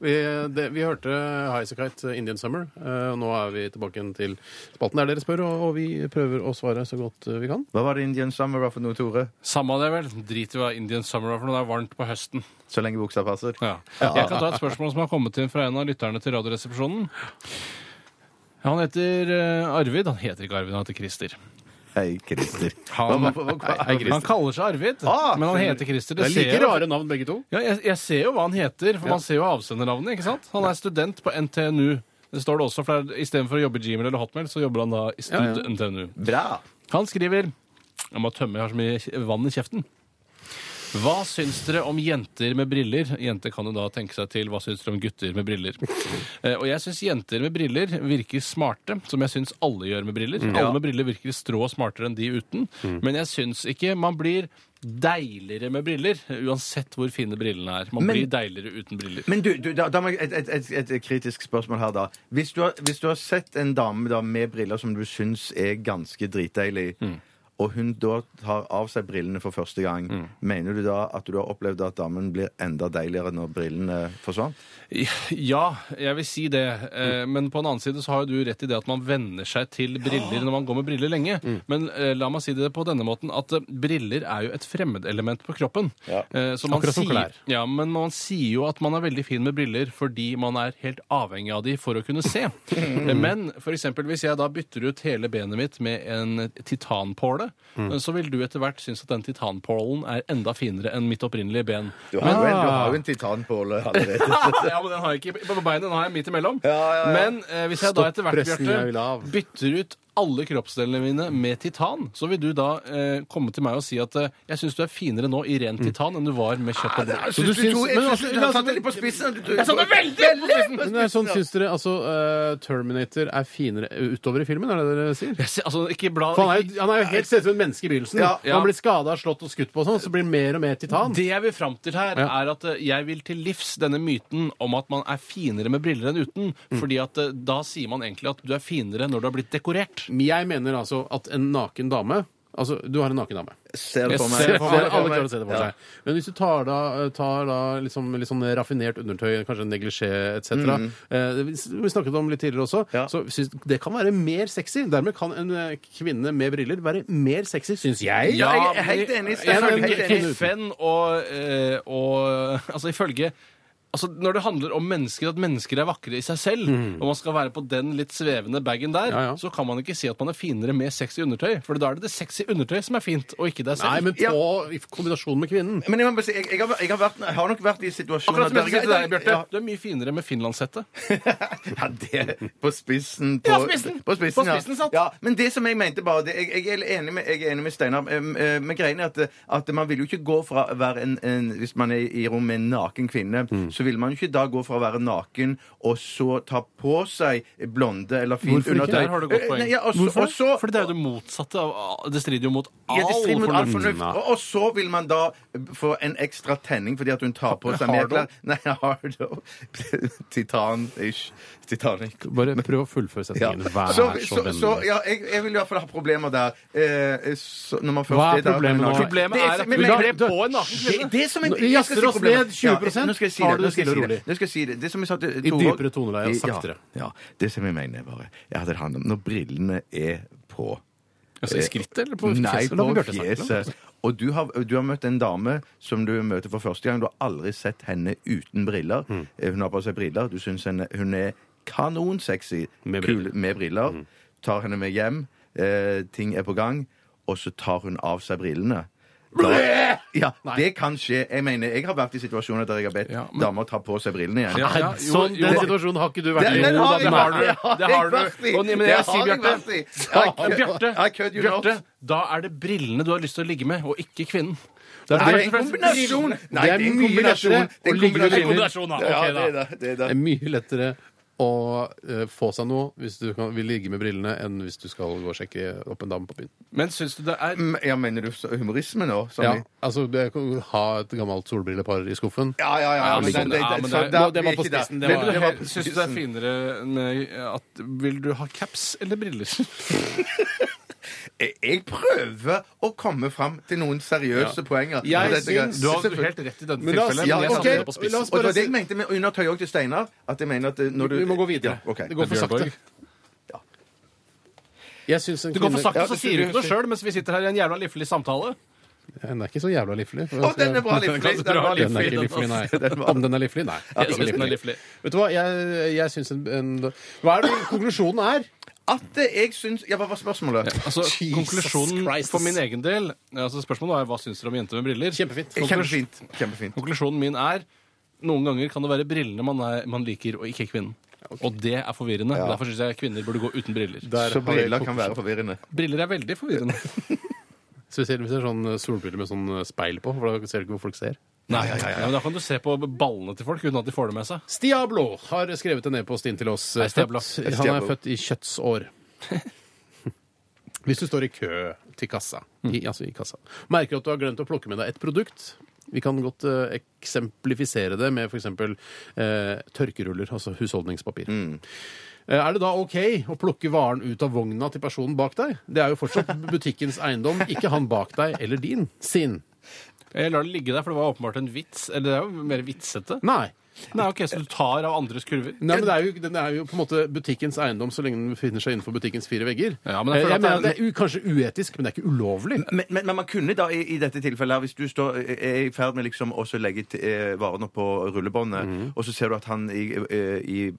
S3: Vi, det, vi hørte Highasakite eh, Indian Summer. eh, og nå er vi tilbake igjen til spalten der dere spør, og, og vi prøver å svare så godt eh, vi kan.
S4: hva var det Indian Summer var for noe, Tore?
S5: Samme av det, vel. Drit i hva Indian Summer er for noe. Det er varmt på høsten.
S4: Så lenge buksa passer?
S5: Ja. Jeg kan ta et spørsmål som har kommet inn fra en av lytterne til Radioresepsjonen. Han heter eh, Arvid. Han heter ikke Arvid, han heter Christer.
S4: Hei, Christer.
S5: Han,
S4: Hva- hva- hva- hva-
S5: Nei, han kaller seg Arvid,
S4: Ah,
S5: men han
S4: skjønner.
S5: heter Christer.
S3: Det er
S5: ser
S3: like
S5: jeg-
S3: rare navn, begge to.
S5: Ja, jeg, jeg ser jo hva han heter, for man ser jo avsendernavnet. ikke sant? Han er student på NTNU. Det står det også, for det er- Istedenfor å jobbe i Gmail eller Hotmail, så jobber han da i Stud NTNU.
S4: Bra.
S5: Han skriver Jeg må tømme, jeg har så mye kje- vann i kjeften. Hva syns dere om jenter med briller? Jenter kan jo da tenke seg til hva syns dere om gutter med briller. Eh, Og jeg syns jenter med briller virker smarte, som jeg syns alle gjør med briller. Alle med briller virker strå smartere enn de uten. Men jeg syns ikke man blir deiligere med briller, uansett hvor fine brillene er. Man
S4: Men-
S5: blir deiligere uten briller.
S4: Men du, du da, da må jeg et, et, et, et kritisk spørsmål her, da. Hvis du har, hvis du har sett en dame da, med briller som du syns er ganske dritdeilig, og hun da tar av seg brillene for første gang, mener du da at du har opplevd at damen blir enda deiligere når brillene forsvant?
S5: Ja, jeg vil si det. Eh, Men på en annen side så har jo du rett i det at man venner seg til briller når man går med briller lenge.
S3: Mm.
S5: Men eh, la meg si det på denne måten at eh, briller er jo et fremmedelement på kroppen.
S4: Ja.
S5: Eh, så man
S3: Akkurat som
S5: sier-
S3: klær.
S5: Ja, men man sier jo at man er veldig fin med briller fordi man er helt avhengig av de for å kunne se.
S3: Mm.
S5: Eh, Men for eksempel hvis jeg da bytter ut hele benet mitt med en titanpåle,
S3: Mm.
S5: eh, så vil du etter hvert synes at den titanpålen er enda finere enn mitt opprinnelige ben.
S4: Du har, jo, en, du har jo en titanpåle allerede.
S5: ja, men den har jeg ikke på beinet. Den har jeg midt imellom. Men eh, hvis jeg da etter hvert
S3: pressen jeg vil
S5: Bjarte,
S3: av.
S5: bytter ut alle kroppsdelene mine med titan, så vil du da eh, komme til meg og si at eh, jeg syns du er finere nå i ren titan enn du var med kjøtt og brød.
S4: Så du
S3: syns- men altså,
S4: du har satt det litt på spissen? Du, sånn du,
S5: Jeg sa det veldig!
S3: Men det er sånn, Syns dere altså eh, Terminator er finere utover i filmen? Er det det dere sier?
S5: Jeg ser- Altså, ikke bla
S3: For han er, jo- han er jo helt sett ut som et menneske i begynnelsen.
S4: Ja,
S5: ja.
S3: Han blir skada, slått og skutt på og sånn, så blir han mer og mer titan.
S5: Det jeg vil fram til her,
S3: Ja.
S5: er at eh, jeg vil til livs denne myten om at man er finere med briller enn uten.
S3: Mm.
S5: fordi at eh, da sier man egentlig at du er finere når du har blitt dekorert.
S3: Jeg mener altså at en naken dame Altså, du har en naken dame.
S4: Ser det
S5: Jeg
S4: for
S5: ser det
S4: meg.
S5: for
S3: Alle
S5: meg.
S3: klarer å se det for
S4: Ja.
S3: seg. Men hvis du tar da, tar da liksom, litt sånn raffinert undertøy, kanskje en neglisjé etc., eh, vi s- vi snakket om litt tidligere også,
S4: Mm. Ja.
S3: så syns det kan være mer sexy. Dermed kan en eh, kvinne med briller være mer sexy, syns jeg.
S4: Ja, jeg er helt
S5: men
S4: enig,
S5: i-
S4: Steffen. Helt
S5: Ifølge
S4: enig.
S5: FN og, eh, og Altså ifølge Altså Når det handler om mennesker, at mennesker er vakre i seg selv,
S4: Mm.
S5: og man skal være på den litt svevende bagen der,
S3: Ja, ja.
S5: så kan man ikke si at man er finere med sexy undertøy. For da er det det sexy undertøy som er fint, og ikke deg selv.
S3: Nei, men på,
S4: Ja.
S3: i kombinasjon med kvinnen.
S4: Men jeg, må bare si, jeg, jeg, har, jeg, har vært, jeg har nok vært i situasjoner
S5: Akkurat som jeg sier til deg, Bjarte.
S4: Ja.
S5: Du er mye finere med finlandshette.
S4: Ja, det På spissen. På,
S5: Ja, spissen.
S4: På spissen,
S5: På spissen satt.
S4: ja. ja. Men det som jeg mente bare det, jeg, jeg, er enig med, jeg er enig med Steinar, em, eh, men greien er at, at man vil jo ikke gå fra å være en, en Hvis man er i rom med en naken kvinne,
S5: Mm.
S4: så vil man jo ikke da gå fra å være naken og så ta på seg blonde eller fint
S3: Hvorfor ikke?
S4: undertøy.
S5: Der har du godt poeng.
S4: Eh, Nei, ja, og så-
S3: Hvorfor
S4: og så-
S5: Fordi det er jo det motsatte av Det strider jo mot all
S4: ja, det strider mot all
S5: fornuft.
S4: fornuft. Og, og så vil man da få en ekstra tenning fordi at hun tar på seg mer
S3: Hardo.
S4: klær. Nei, hardo. Titan-ish. Titanic.
S3: Bare prøv å fullføre
S4: Ja.
S3: setningen. Vær så,
S4: Så, så,
S3: vennlig.
S4: så ja, jeg, jeg vil i hvert fall ha problemer der. Eh, så, når man først
S3: Hva er
S4: der,
S3: problemet nå?
S5: Problemet
S4: Det
S5: er at
S4: men-
S5: du
S4: men-
S5: kler
S4: det-
S5: på en naken
S4: det-
S5: kvinne.
S4: Det som jeg,
S3: Nå
S4: jeg skal
S3: jazzer
S4: si
S3: oss
S4: problemet.
S3: ned 20%.
S4: Ja, Nå skal jeg si
S3: Tar
S4: det.
S3: du
S4: Nå
S3: det
S4: skal jeg si
S3: stille
S4: det.
S3: og rolig?
S4: Nå skal jeg si det. Det som jeg sa til
S3: I
S4: Tore-
S3: dypere toneleie og
S4: Ja,
S3: saktere.
S4: Ja, Det som jeg mener, bare er at det handler om når brillene er på.
S5: Altså, I skrittet eller på
S4: Nei,
S5: fjeset?
S3: La meg
S4: på
S3: Bjarte snakke.
S4: fjeset. Og du har, du har møtt en dame som du møter for første gang. Du har aldri sett henne uten briller. Eh, Hun har på seg briller. Du syns henne- hun er kanonsexy
S3: Med
S4: Kul, med briller. Tar henne med hjem. Eh, ting er på gang. Og så tar hun av seg brillene. Da, ja, det kan skje. Jeg mener, jeg har vært i situasjoner der jeg har bedt
S5: Ja, men-
S4: damer ta på seg brillene igjen.
S5: Ja, ja, jo,
S3: Sånn,
S5: jo,
S3: den
S5: da.
S3: situasjonen har ikke du vært
S4: Den-
S3: i.
S4: den
S5: Jo da,
S4: har jeg
S5: den
S4: vært
S5: har
S4: i.
S5: du.
S4: Det har
S5: Det
S4: jeg
S5: har du.
S4: vært i.
S5: Og, nei, men jeg
S4: Det har
S5: sier
S4: jeg
S5: Bjarte.
S4: vært i. I
S5: Ja,
S4: could-
S5: Bjarte,
S4: I could you
S5: Bjarte,
S4: not.
S5: da er det brillene du har lyst til å ligge med, og ikke kvinnen.
S3: Det
S4: Nei,
S3: er
S4: det er en kombinasjon. Nei,
S3: Det er mye lettere
S4: Det er
S3: å
S4: en
S3: ligge med
S4: kombinasjon.
S5: kvinner.
S4: Ja,
S5: Ok, da.
S4: det er det, det er
S3: Det
S4: det.
S3: er mye lettere å eh, få seg noe hvis du kan, vil ligge med brillene, enn hvis du skal gå og sjekke opp en dame på byen.
S5: Men syns du det er
S4: Mm, Ja, mener du så- humorisme nå? Som
S3: Ja,
S4: i-
S3: altså, jeg kan ha et gammelt solbrillepar i skuffen.
S4: ja, ja. ja,
S5: Ja, men
S4: men
S5: sånn,
S4: det-
S5: ja,
S4: det-
S5: men
S4: så
S5: det-
S4: der-
S3: det var
S4: vi er
S3: på
S4: ikke der.
S3: spissen, det
S4: Men
S3: var-
S4: du-
S3: det
S4: var på
S5: Syns du det er
S4: spissen.
S5: finere med at Vil du ha caps eller briller?
S4: Jeg- Jeg prøver å komme fram til noen seriøse poenger. Og dette-
S5: syns- Du har
S4: Selvfølgelig.
S5: helt rett i denne
S3: Men la oss-
S5: tilfellet.
S4: ja,
S5: men jeg
S4: ok.
S5: satte det på spissen.
S3: La oss
S4: Og det
S3: bare
S4: var det jeg
S3: si-
S4: mente med undertøy òg til Steinar. At jeg mener at eh, når du
S3: Vi må gå videre.
S4: Ja, ok.
S3: Det går for sakte.
S5: Bjørnborg.
S4: Ja.
S3: Jeg synes en
S5: Du går for
S3: kvinne-
S5: sakte,
S4: Ja,
S5: så
S4: det-
S5: sier du ikke noe sjøl mens vi sitter her i en jævla liflig samtale.
S3: Ja, Den er ikke så jævla liflig.
S4: Å, den er bra liflig,
S3: Den,
S4: den er bra
S3: er
S4: liflig,
S3: ikke
S4: den
S3: liflig, sånn. nei.
S4: også. Den var-
S3: Om den er liflig? Nei.
S5: jeg
S3: ikke
S5: synes den er liflig.
S3: Vet du hva, jeg, jeg syns en, en Hva er det konklusjonen er?
S4: At eh, jeg syns Ja, hva var spørsmålet?
S5: Altså,
S3: Jesus
S5: konklusjonen
S3: Christ.
S5: for min egen del altså Spørsmålet er hva syns dere om jenter med briller?
S3: Kjempefint.
S5: Konklusjon-
S4: Kjempefint. Kjempefint.
S5: Konklusjonen min er noen ganger kan det være brillene man, er, man liker, og ikke kvinnen. Og det er forvirrende. Derfor syns jeg kvinner burde gå uten briller.
S3: Der
S4: Så
S3: har jeg
S4: briller kan være forvirrende.
S5: Briller er veldig forvirrende.
S3: Spesielt hvis det er sånn eh, solbriller med sånn eh, speil på, for da ser du ikke hvor folk ser.
S5: Nei, Ja, men Da kan du se på ballene til folk uten at de får det med seg.
S3: Stiablo har skrevet en e-post inn til oss. eh,
S5: Hei, Stiablo.
S3: Født, han er
S4: Stiablo.
S3: født i kjøttsår. Hvis du står i kø til kassa, i, altså i kassa, merker at du har glemt å plukke med deg et produkt, Vi kan godt eh, eksemplifisere det med f.eks. Eh, tørkeruller, altså husholdningspapir. Eh, Er det da OK å plukke varen ut av vogna til personen bak deg? Det er jo fortsatt butikkens eiendom, ikke han bak deg eller din sin.
S5: Jeg lar det ligge der, for det var åpenbart en vits. Eller det er jo mer vitsete.
S3: Nei.
S5: Nei, ok, Så du tar av andres kurver?
S3: Nei, men det er jo, Den er jo på en måte butikkens eiendom så lenge den befinner seg innenfor butikkens fire vegger.
S5: Ja, men jeg
S3: Eh,
S5: føler
S3: jeg
S5: at
S3: mener at
S5: det
S3: det er u kanskje uetisk, men det er ikke ulovlig.
S4: Men, men, men man kunne da i, i dette tilfellet her, Hvis du står, eh, er i ferd med liksom også å legge t- eh, varene på rullebåndet,
S5: Mhm.
S4: og så ser du at han i, eh, i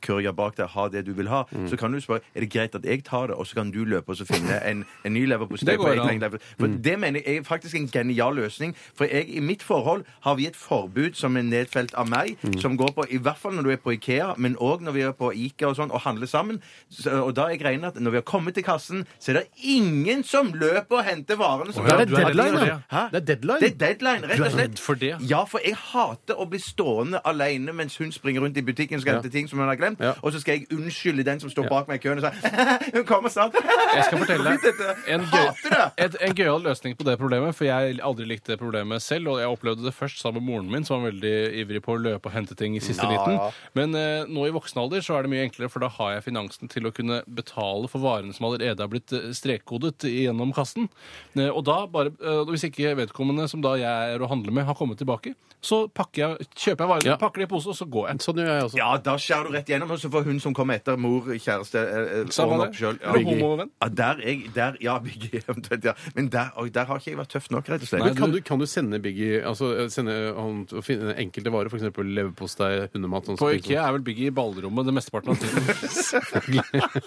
S4: kurja bak deg har det du vil ha,
S5: Mhm.
S4: så kan du spørre er det greit at jeg tar det, og så kan du løpe og så finne en, en ny leverpostei.
S5: Det går
S4: på egen
S5: an.
S4: lengde. For
S3: Mm.
S4: Det mener jeg er faktisk en genial løsning. For jeg, i mitt forhold har vi et forbud som er nedfelt av meg,
S3: Mm.
S4: som går på i hvert fall når du er på Ikea, men òg når vi er på Ikea og sånn og handler sammen. Så, og da er jeg regner at når vi har kommet til kassen, så er det ingen som løper og henter varene. som-
S5: Å ja,
S3: Da er
S5: du er
S3: det deadline,
S5: redd for
S3: da.
S5: det,
S4: Hæ?
S3: Det er deadline.
S4: Det er deadline, rett og slett.
S5: redd for det?
S4: Ja, for jeg hater å bli stående alene mens hun springer rundt i butikken og skal
S3: Ja.
S4: hente ting som hun har glemt,
S3: Ja.
S4: og så skal jeg unnskylde den som står bak meg i køen og sier Hun kommer snart.
S5: Jeg skal fortelle deg en,
S4: Hater
S5: gøy,
S4: det!
S5: et, en gøyal løsning på det problemet, for jeg aldri likte det problemet selv. Og jeg opplevde det først sammen med moren min, som var veldig ivrig på å løpe og hente ting i siste liten. Men eh, nå i voksen alder så er det mye enklere, for da har jeg finansen til å kunne betale for varene som allerede er blitt eh, strekkodet gjennom kassen. Eh, og da bare eh, Hvis ikke vedkommende som da jeg er å handle med, har kommet tilbake, så pakker jeg, kjøper jeg varene,
S3: Ja.
S5: pakker det i pose, og så går jeg.
S3: Sånn gjør jeg også.
S4: Ja, da skjærer du rett gjennom, og så får hun som kommer etter, mor, kjæreste, eh, eh,
S5: Samme det.
S4: ordne opp sjøl.
S5: Er du homovenn?
S4: Ja, der er jeg der, Ja, Biggie, eventuelt. Ja. Men der, oi, der har ikke jeg vært tøff nok, rett og slett.
S5: Nei,
S3: Men kan, du, kan du sende Biggie altså sende han til å finne enkelte varer, f.eks. leverpostei, hundemat sånn
S5: På
S3: som-
S5: IKEA er vel Biggie i ballrommet det mesteparten av tiden.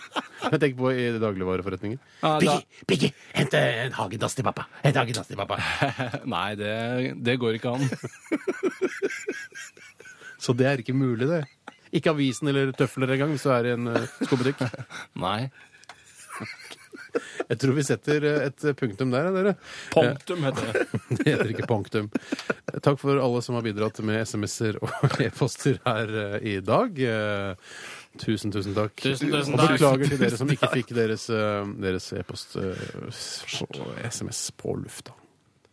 S3: Jeg tenker på i dagligvareforretninger.
S5: Ja, da-
S3: Biggie, hent eh, en hagedass til pappa! Hent hagedass til pappa.
S5: Nei, det, det går ikke an.
S3: Så det er ikke mulig, det. Ikke avisen eller tøfler engang, hvis du er i en eh, skobutikk.
S5: Nei.
S3: Jeg tror vi setter eh, et punktum der, ja, dere.
S5: Punktum heter det.
S3: Eh, Det heter ikke punktum. Takk for alle som har bidratt med SMS-er og e-poster her eh, i dag. Eh, Tusen, tusen takk.
S5: Tusen, tusen
S3: og
S5: takk.
S3: beklager til dere som ikke fikk deres eh, deres e-post eh, og SMS på lufta.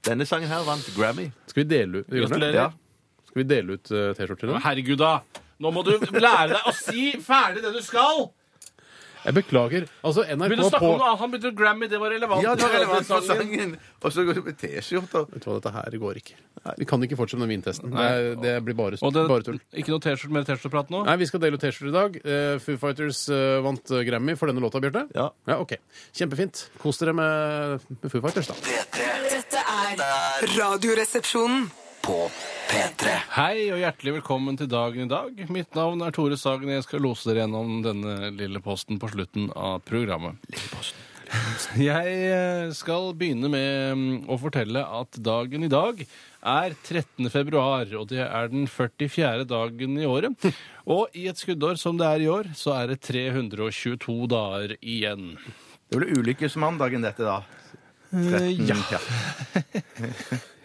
S4: Denne sangen her vant Grammy.
S3: Skal vi dele ut gjør vi det?
S5: Gratulerer.
S4: Ja.
S3: Skal vi dele ut eh, T-skjorter? nå?
S5: Herregud, da. Nå må du lære deg å si ferdig det du skal!
S3: Jeg beklager. Altså, NRK
S5: Begynne å snakke
S3: på
S5: om noe annet. Han begynte å Grammy, det var relevant.
S4: Ja, det var relevant for
S5: Sangen.
S4: sangen. Og så går du med T-skjorter.
S3: Vet du hva, dette her går ikke. Vi kan ikke fortsette med den vintesten. Det,
S5: Nei.
S3: er- det blir bare,
S5: Og det,
S3: bare tull.
S5: ikke noe T-skjorte mer T-skjorteprat nå?
S3: Nei, vi skal dele ut T-skjorter i dag. Eh, Foo Fighters eh, vant eh, Grammy for denne låta, Bjarte.
S4: Ja.
S3: ok. Kjempefint. Kos dere med, med Foo Fighters, da.
S2: P3
S6: Dette er Radioresepsjonen.
S2: på P3
S5: Hei og hjertelig velkommen til dagen i dag. Mitt navn er Tore Sagen, og jeg skal lose dere gjennom denne lille posten på slutten av programmet. Jeg eh, skal begynne med mm, å fortelle at dagen i dag er 13. februar, og det er den 44. dagen i året. Og i et skuddår som det er i år, så er det 322 dager igjen.
S4: Det ble ulykkesmandagen, dette, da. 13,
S5: Eh, ja.
S4: ja.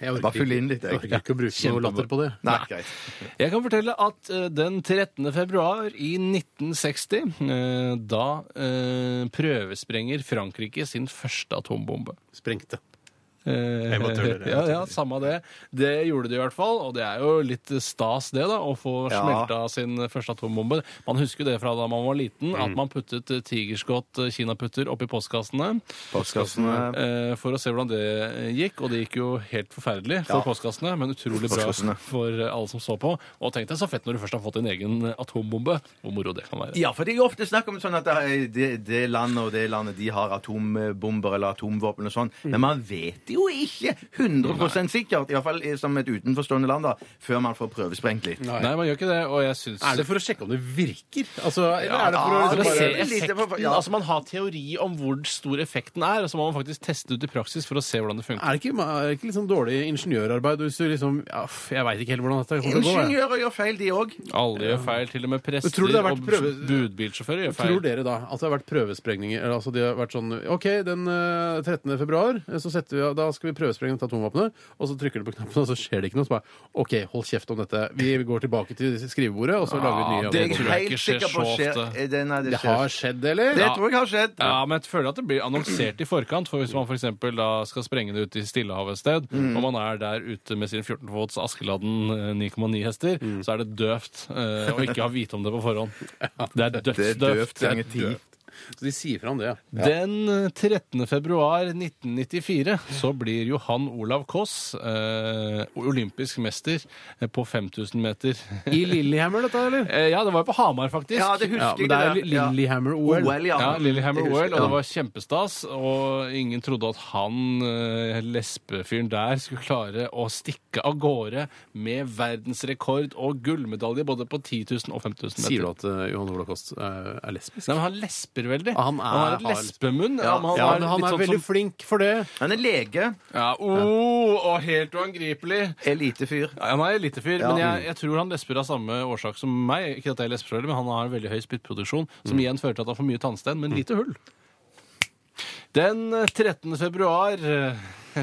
S3: Jeg
S4: Bare fyll inn litt, jeg.
S3: jeg orker ikke å bruke noe latter på det.
S4: Nei, greit.
S5: Jeg kan fortelle at eh, den 13. februar i 1960, eh, da eh, prøvesprenger Frankrike sin første atombombe.
S3: Sprengte.
S5: Jeg
S3: bare tuller, jeg
S5: Ja,
S3: bare
S5: ja, samme det. Det gjorde de i hvert fall, og det er jo litt stas det, da, å få
S4: Ja.
S5: smelta sin første atombombe. Man husker jo det fra da man var liten,
S3: Mm.
S5: at man puttet eh, tigerskott eh, kinaputter oppi postkassene
S4: Postkassene.
S5: eh, for å se hvordan det gikk, og det gikk jo helt forferdelig for
S4: Ja.
S5: postkassene, men utrolig bra
S4: Postkassene.
S5: for alle som så på. Og tenk deg så fett når du først har fått din egen atombombe, hvor moro det kan være.
S4: Ja, for det er jo ofte snakk om sånn at det, det, det landet og det landet de har atombomber eller atomvåpen og sånn,
S5: Mm.
S4: men man vet jo ikke 100 sikkert, iallfall eh, som et utenforstående land, da, før man får prøvesprengt litt.
S5: Nei, man gjør ikke det, og jeg syns
S3: Er det for å sjekke om det virker? Altså, eller er det for
S4: Ja,
S3: å
S5: Eller
S3: liksom
S5: se
S4: det
S3: bare
S4: ser-
S5: effekten.
S4: Ja.
S5: Altså Man har teori om hvor stor effekten er, og så må man faktisk teste ut i praksis for å se hvordan det funker.
S3: er det ikke, er det ikke liksom dårlig ingeniørarbeid hvis du liksom ja, f- Jeg veit ikke helt hvordan dette kommer til å gå. jeg.
S4: Ingeniører gjør feil, de òg.
S5: Alle gjør feil, til og med prester
S3: tror du det har vært
S5: og
S3: prøve-
S5: budbilsjåfører gjør feil.
S3: Tror dere da at det har vært prøvesprengninger? Eller altså de har vært sånn OK, den eh, 13. februar eh, så setter vi, av- da da skal vi prøvesprenge dette atomvåpenet. Og så trykker du på knappen, og så skjer det ikke noe. Så bare OK, hold kjeft om dette. Vi går tilbake til skrivebordet, og så lager vi nye
S5: Ja, det
S3: atomvåpen.
S5: tror jeg ikke skjer så ofte.
S4: Eh, Det, nei, det,
S3: Det
S4: skjer.
S3: har skjedd, eller?
S4: det tror jeg har skjedd.
S5: Ja, men jeg føler at det blir annonsert i forkant. For hvis man f.eks. da skal sprenge det ut i Stillehavet et sted,
S4: Mm.
S5: og man er der ute med sin 14 fots Askeladden eh, 9,9 hester,
S4: Mm.
S5: så er det døvt eh, å ikke ha vite om det på forhånd. Det er
S4: Det er døvt
S5: dødsdøvt.
S4: ganger ti.
S3: Så de sier fra om det, ja.
S5: Den 13. februar 1994 så blir Johan Olav Koss eh, olympisk mester eh, på 5000 meter.
S3: I Lillehammer, dette, eller?
S5: Eh, ja, det var jo på Hamar, faktisk.
S4: Ja, det
S3: Ja,
S4: husker jeg.
S3: men det er
S4: der. Ja.
S3: Lillehammer-OL.
S4: OL, ja.
S5: Ja, Lillehammer
S4: Det husker
S5: OL, og
S4: jeg.
S5: det var kjempestas. Og ingen trodde at han eh, lesbefyren der skulle klare å stikke av gårde med verdensrekord og gullmedalje både på 10 000 og 5000 meter.
S3: Sier du at eh, Johan Olav Kost eh, er lesbisk?
S5: Nei, men han lesper veldig.
S3: Han er-
S5: har et
S3: har-
S5: lesbemunn.
S4: Ja,
S5: men
S3: Ja, men han
S5: litt
S3: er
S5: sånn
S3: veldig
S5: som-
S3: flink for det.
S4: Han er lege.
S5: ja, oh, og helt uangripelig.
S4: Elitefyr.
S5: Ja, han er elitefyr,
S4: Ja.
S5: men jeg, jeg tror han lesper av samme årsak som meg. Ikke at jeg lesper heller, men han har en veldig høy spyttproduksjon, som
S4: Mm.
S5: igjen fører til at han får mye tannstein, men lite hull. Den eh, 13. februar eh,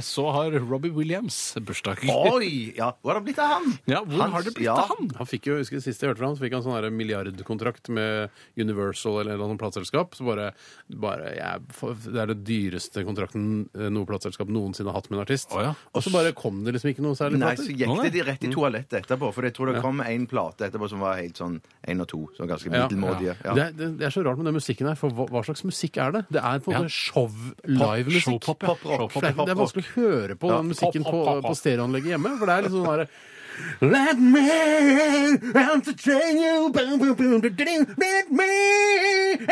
S5: så har Robbie Williams bursdag.
S4: Oi! Ja, hvor har det blitt av han?
S5: Ja, hvor
S4: Hans-
S5: har det blitt
S4: ja.
S5: av han?
S3: Han fikk jo, jeg husker det siste jeg hørte fra han, så fikk han sånn her milliardkontrakt med Universal eller noe sånt plateselskap. Så bare, bare jeg, for- Det er det dyreste kontrakten eh, noe plateselskap noensinne har hatt med en artist.
S5: Å ja.
S3: Og så bare kom det liksom ikke noe særlig
S4: Nei,
S3: plater.
S4: så gikk det de rett
S5: Mm.
S4: i toalettet etterpå. For jeg tror det kom én plate etterpå som var helt sånn én og to. Sånn ganske
S3: Ja.
S4: middelmådige. Ja.
S3: Det, er, det, det er så rart med den musikken her, for hva, hva slags musikk er det? Det er på en
S5: Ja.
S3: måte show, live musikk.
S5: showpop, ja. Showpop,
S3: For det, er- det er
S4: pop,
S3: vanskelig å høre på den musikken
S5: pop, pop, pop,
S3: på,
S5: pop.
S3: på stereoanlegget hjemme, for det er liksom sånn herre Let me entertain you boom, boom, boom, do, do, do. Let me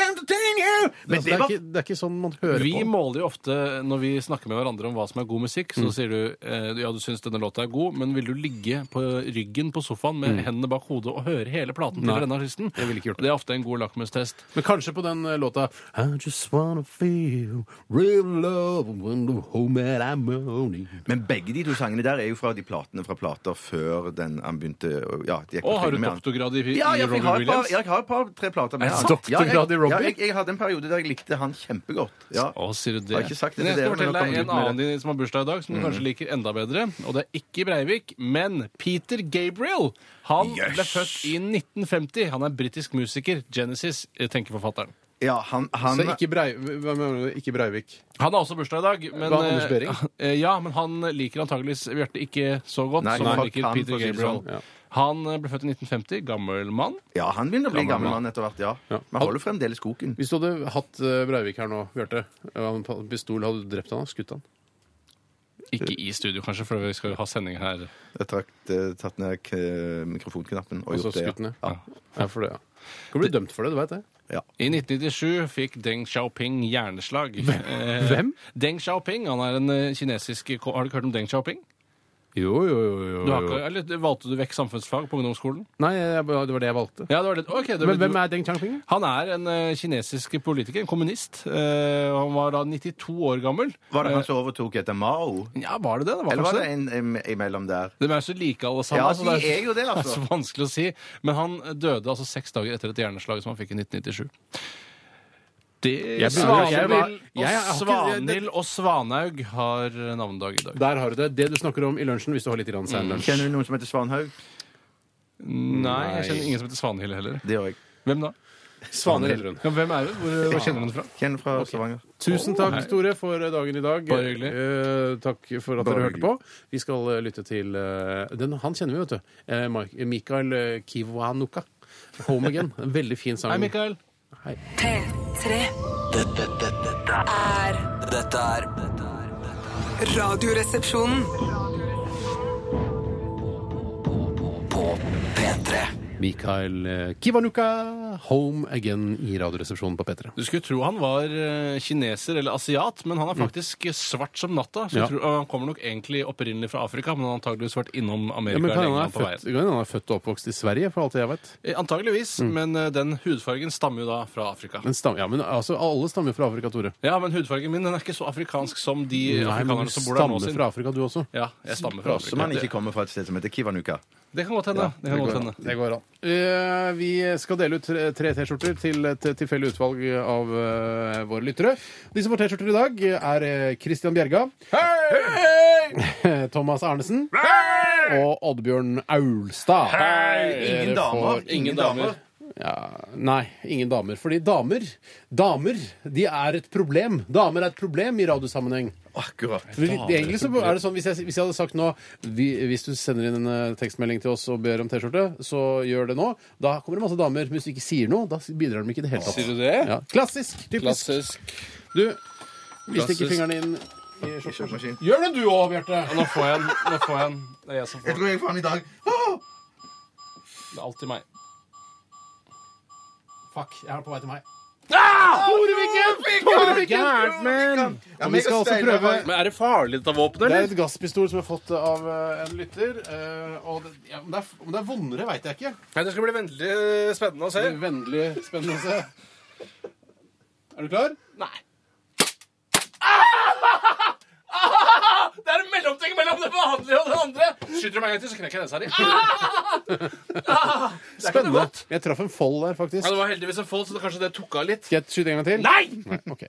S3: entertain you det,
S4: Men
S3: altså, det,
S4: det
S3: er
S4: var-
S3: ikke, det er ikke sånn man hører
S5: Vi
S3: på.
S5: måler jo ofte, når vi snakker med hverandre om hva som er god musikk,
S4: Mm.
S5: så sier du eh, ja, du syns denne låta er god, men vil du ligge på ryggen på sofaen
S4: Mm.
S5: med hendene bak hodet og høre hele platen til denne artisten?
S3: jeg ville ikke gjort det.
S5: det er ofte en god lakmustest.
S3: Men kanskje på den eh, låta I just wanna feel real love when the home that I'm owning.
S4: Men begge de to sangene der er jo fra de platene fra plater før den han begynte å- ja, de gikk på
S5: Og har
S4: turné
S5: du
S4: med han.
S5: doktorgrad i, i
S4: Ja, jeg, jeg,
S5: Robbie
S4: har et par,
S5: Williams?
S4: jeg har et par tre plater med
S5: Er det
S4: han. ja,
S3: doktorgrad i
S4: jeg,
S3: Robbie?
S4: ja, jeg, jeg hadde en periode der jeg likte han kjempegodt. Ja.
S5: Å, sier du det?
S4: Har ikke sagt det
S5: men jeg
S4: til
S5: skal
S4: dere, men
S5: fortelle
S4: nå
S5: deg en
S4: kommer du ut Mm.
S5: annen din som har bursdag i dag, som du kanskje liker enda bedre. Og det er ikke i Breivik, men Peter Gabriel. Han ble født i 1950. Han er britisk musiker. Genesis, eh, tenker forfatteren.
S4: Ja, han, han,
S3: Så ikke, Brei, hva mener du? ikke Breivik.
S5: Han har også bursdag i dag. Men,
S3: Hva, Anders
S5: eh,
S3: Behring?
S5: eh, ja, men han liker antageligvis Bjarte ikke så godt
S4: Nei,
S5: som
S4: nei,
S5: han liker
S4: han, for
S5: Peter
S4: å si det
S5: Gabriel.
S4: sånn,
S3: ja.
S5: Han eh, ble født i 1950. Gammel mann.
S4: ja, han begynner å bli
S5: Gammel
S4: gammel
S5: mann.
S4: mann etter hvert, ja.
S3: Ja.
S4: Men holder fremdeles koken.
S3: Hvis du hadde hatt eh, Breivik her nå, Bjarte, og en pistol, hadde du drept han og skutt han?
S5: Ikke i studio, kanskje, for vi skal jo ha sending her.
S4: Jeg trakk, eh, tatt ned k mikrofonknappen og
S3: Og så
S4: gjort det.
S3: skutt ned?
S4: Ja.
S3: Ja, for det, ja. Du kan bli dømt for det, du veit det.
S4: Ja.
S5: I 1997 fikk Deng Xiaoping hjerneslag. Eh,
S3: Hvem?
S5: Deng Xiaoping, han er en eh, kinesisk ko- Har du ikke hørt om Deng Xiaoping?
S3: Jo, jo, jo.
S5: Du har ikke, eller valgte du vekk samfunnsfag på ungdomsskolen?
S3: Nei, jeg, det var det jeg valgte.
S5: Ja, det var det. Ok, det,
S3: Men hvem er Deng Changping?
S5: Han er en eh, kinesisk politiker, en kommunist. Eh, han var da 92 år gammel.
S4: Var det han som overtok etter Mao?
S5: Ja, var det det? Det var
S4: Eller var
S5: kanskje
S4: det en im- imellom der?
S5: De er så like alle sammen.
S4: Ja,
S5: altså,
S4: de
S5: det
S4: er jo det, altså.
S5: Det er så vanskelig å si. Men han døde altså seks dager etter et hjerneslag som han fikk i 1997. Det
S3: Jeg begynner- jeg var-
S5: Svanhild
S3: jeg har
S5: og
S3: ikke-
S5: Svanhild og Svanhaug har navnedag i dag.
S3: Der har du det. Det du snakker om i lunsjen, hvis du har litt grann sein lunsj.
S4: Kjenner du noen som heter Svanhaug?
S5: Nei, jeg kjenner ingen som heter Svanhild heller.
S4: Det gjør jeg.
S5: Hvem da?
S3: Svaner Elrun.
S5: Ja, hvem er hun? Hvor, hvor kjenner hun fra?
S4: Kjenner fra Stavanger.
S3: Tusen takk, Tore, for dagen i dag.
S5: Bare hyggelig.
S3: Eh, takk for at
S4: Bare
S3: dere hørte på. Vi skal eh, lytte til eh, den, Han kjenner vi, vet du. Eh, Mike- Mikael eh, Kiwanuka. Home Again. En veldig fin sang.
S5: Hei, Mikael.
S6: P3
S2: Dette, dette, dette
S6: er
S2: er- dette er dette er- dette er
S6: Radioresepsjonen.
S2: På P3
S3: Mikael eh, Kiwanuka. Home Again i Radioresepsjonen på P3.
S5: Du skulle tro han var eh, kineser eller asiat, men han er faktisk svart som natta. Skulle
S3: Mm. Ja.
S5: Tro, og han kommer nok egentlig opprinnelig fra Afrika, men han har antageligvis vært innom
S3: Ja,
S5: Amerika.
S3: men kan
S5: eller
S3: hende
S5: England
S3: han er
S5: på veien.
S3: født- kan hende han er født og oppvokst i Sverige, for alt jeg vet.
S5: Eh, Antageligvis, men eh, den hudfargen stammer jo da fra Afrika.
S3: Mm. Men, stam, ja, men altså, alle stammer fra Afrika, Tore.
S5: Ja, men hudfargen min den er ikke så afrikansk som de
S3: Nei, men
S5: afrikanerne
S3: du
S5: som bor der nå
S3: stammer
S5: sin.
S3: fra Afrika, du også.
S5: Ja, jeg stammer fra
S4: Som han
S5: Afrika.
S4: ikke kommer fra et sted som heter Kivanuka.
S5: Det kan godt hende. det kan godt hende.
S3: Eh, vi skal dele ut tre, eh, tre T-skjorter til et tilfeldig utvalg av eh, våre lyttere. De som får T-skjorter i dag, er eh, Christian Bjerga, Thomas Arnesen og Oddbjørn Aulstad.
S4: Ingen
S3: Dere
S4: damer.
S3: får-
S5: Ingen damer.
S3: Nei, ingen damer. Fordi damer, damer, de er et problem. Damer er et problem i radiosammenheng.
S4: Akkurat.
S3: Men vi- Egentlig så er det sånn, Hvis jeg, hvis jeg hadde sagt nå vi, Hvis du sender inn en eh, tekstmelding til oss og ber om T-skjorte, så gjør det nå. Da kommer det masse damer. Men hvis du ikke sier noe, da bidrar de ikke i det hele tatt.
S5: Sier du det?
S3: Ja. Klassisk. Typisk.
S5: Klassisk.
S3: Du, vi stikker
S5: Klassisk.
S3: fingrene inn i
S4: Kjøpmaskin.
S3: skjortemaskin. Gjør det du òg, Bjarte!
S5: Nå får jeg en. Nå får jeg en. Det er jeg som
S4: Jeg
S5: får den.
S4: tror jeg får den i dag.
S5: Det er alltid meg.
S3: Fuck, jeg er på vei til meg.
S5: Ah!
S4: Fikk
S3: Gærent, men!
S4: Ja,
S3: Og
S4: men
S3: vi skal
S4: jeg
S3: også
S4: steiler
S3: prøve
S4: meg.
S5: Men er det farlig dette våpenet,
S3: Det er
S5: eller?
S3: et gasspistol som jeg har fått av eh, en lytter. eh, og det, ja, om, det er, om det er vondere, veit jeg ikke.
S5: Nei, det skal bli veldig spennende å se.
S3: Det er Vennlig spennende å se. Er du klar?
S5: Nei. Ah! Det er en mellomting mellom det vanlige og det andre. Skyter du meg en gang til, så knekker jeg nesa di. Ah!
S3: Spennende. Jeg traff en fold der, faktisk.
S5: Ja, det var heldigvis en fold, så det kanskje det tok av litt.
S3: Skal jeg skyte en gang til?
S5: Nei!
S3: Nei, ok.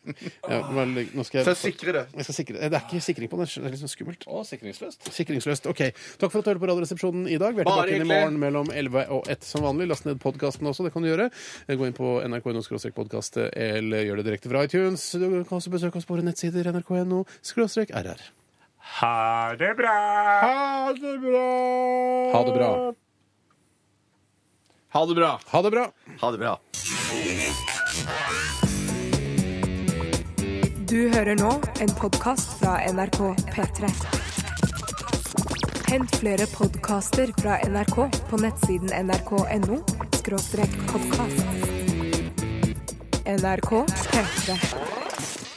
S3: Ja, vel, nå skal
S4: Så
S3: jeg...
S4: sikre det.
S3: Jeg skal sikre. Det er ikke sikring på den. Det er litt sånn skummelt.
S5: Å, sikringsløst.
S3: Sikringsløst. Ok. Takk for at du hørte på Radioresepsjonen i dag. Vi er
S5: Bare
S3: tilbake inn i
S5: hyggelig.
S3: morgen mellom 11 og 1 som vanlig. Last ned podkasten også. Det kan du gjøre. Gå inn på nrk.no-podkast eller gjør det direkte fra iTunes. Du kan også besøke oss på våre nettsider nrk.no-rr. Ha det bra! Ha det bra.
S5: Ha det bra.
S3: Ha det bra.
S4: Ha det bra.
S1: Du hører nå en podkast fra NRK P3. Hent flere podkaster fra NRK på nettsiden nrk.no podkast. NRK P3.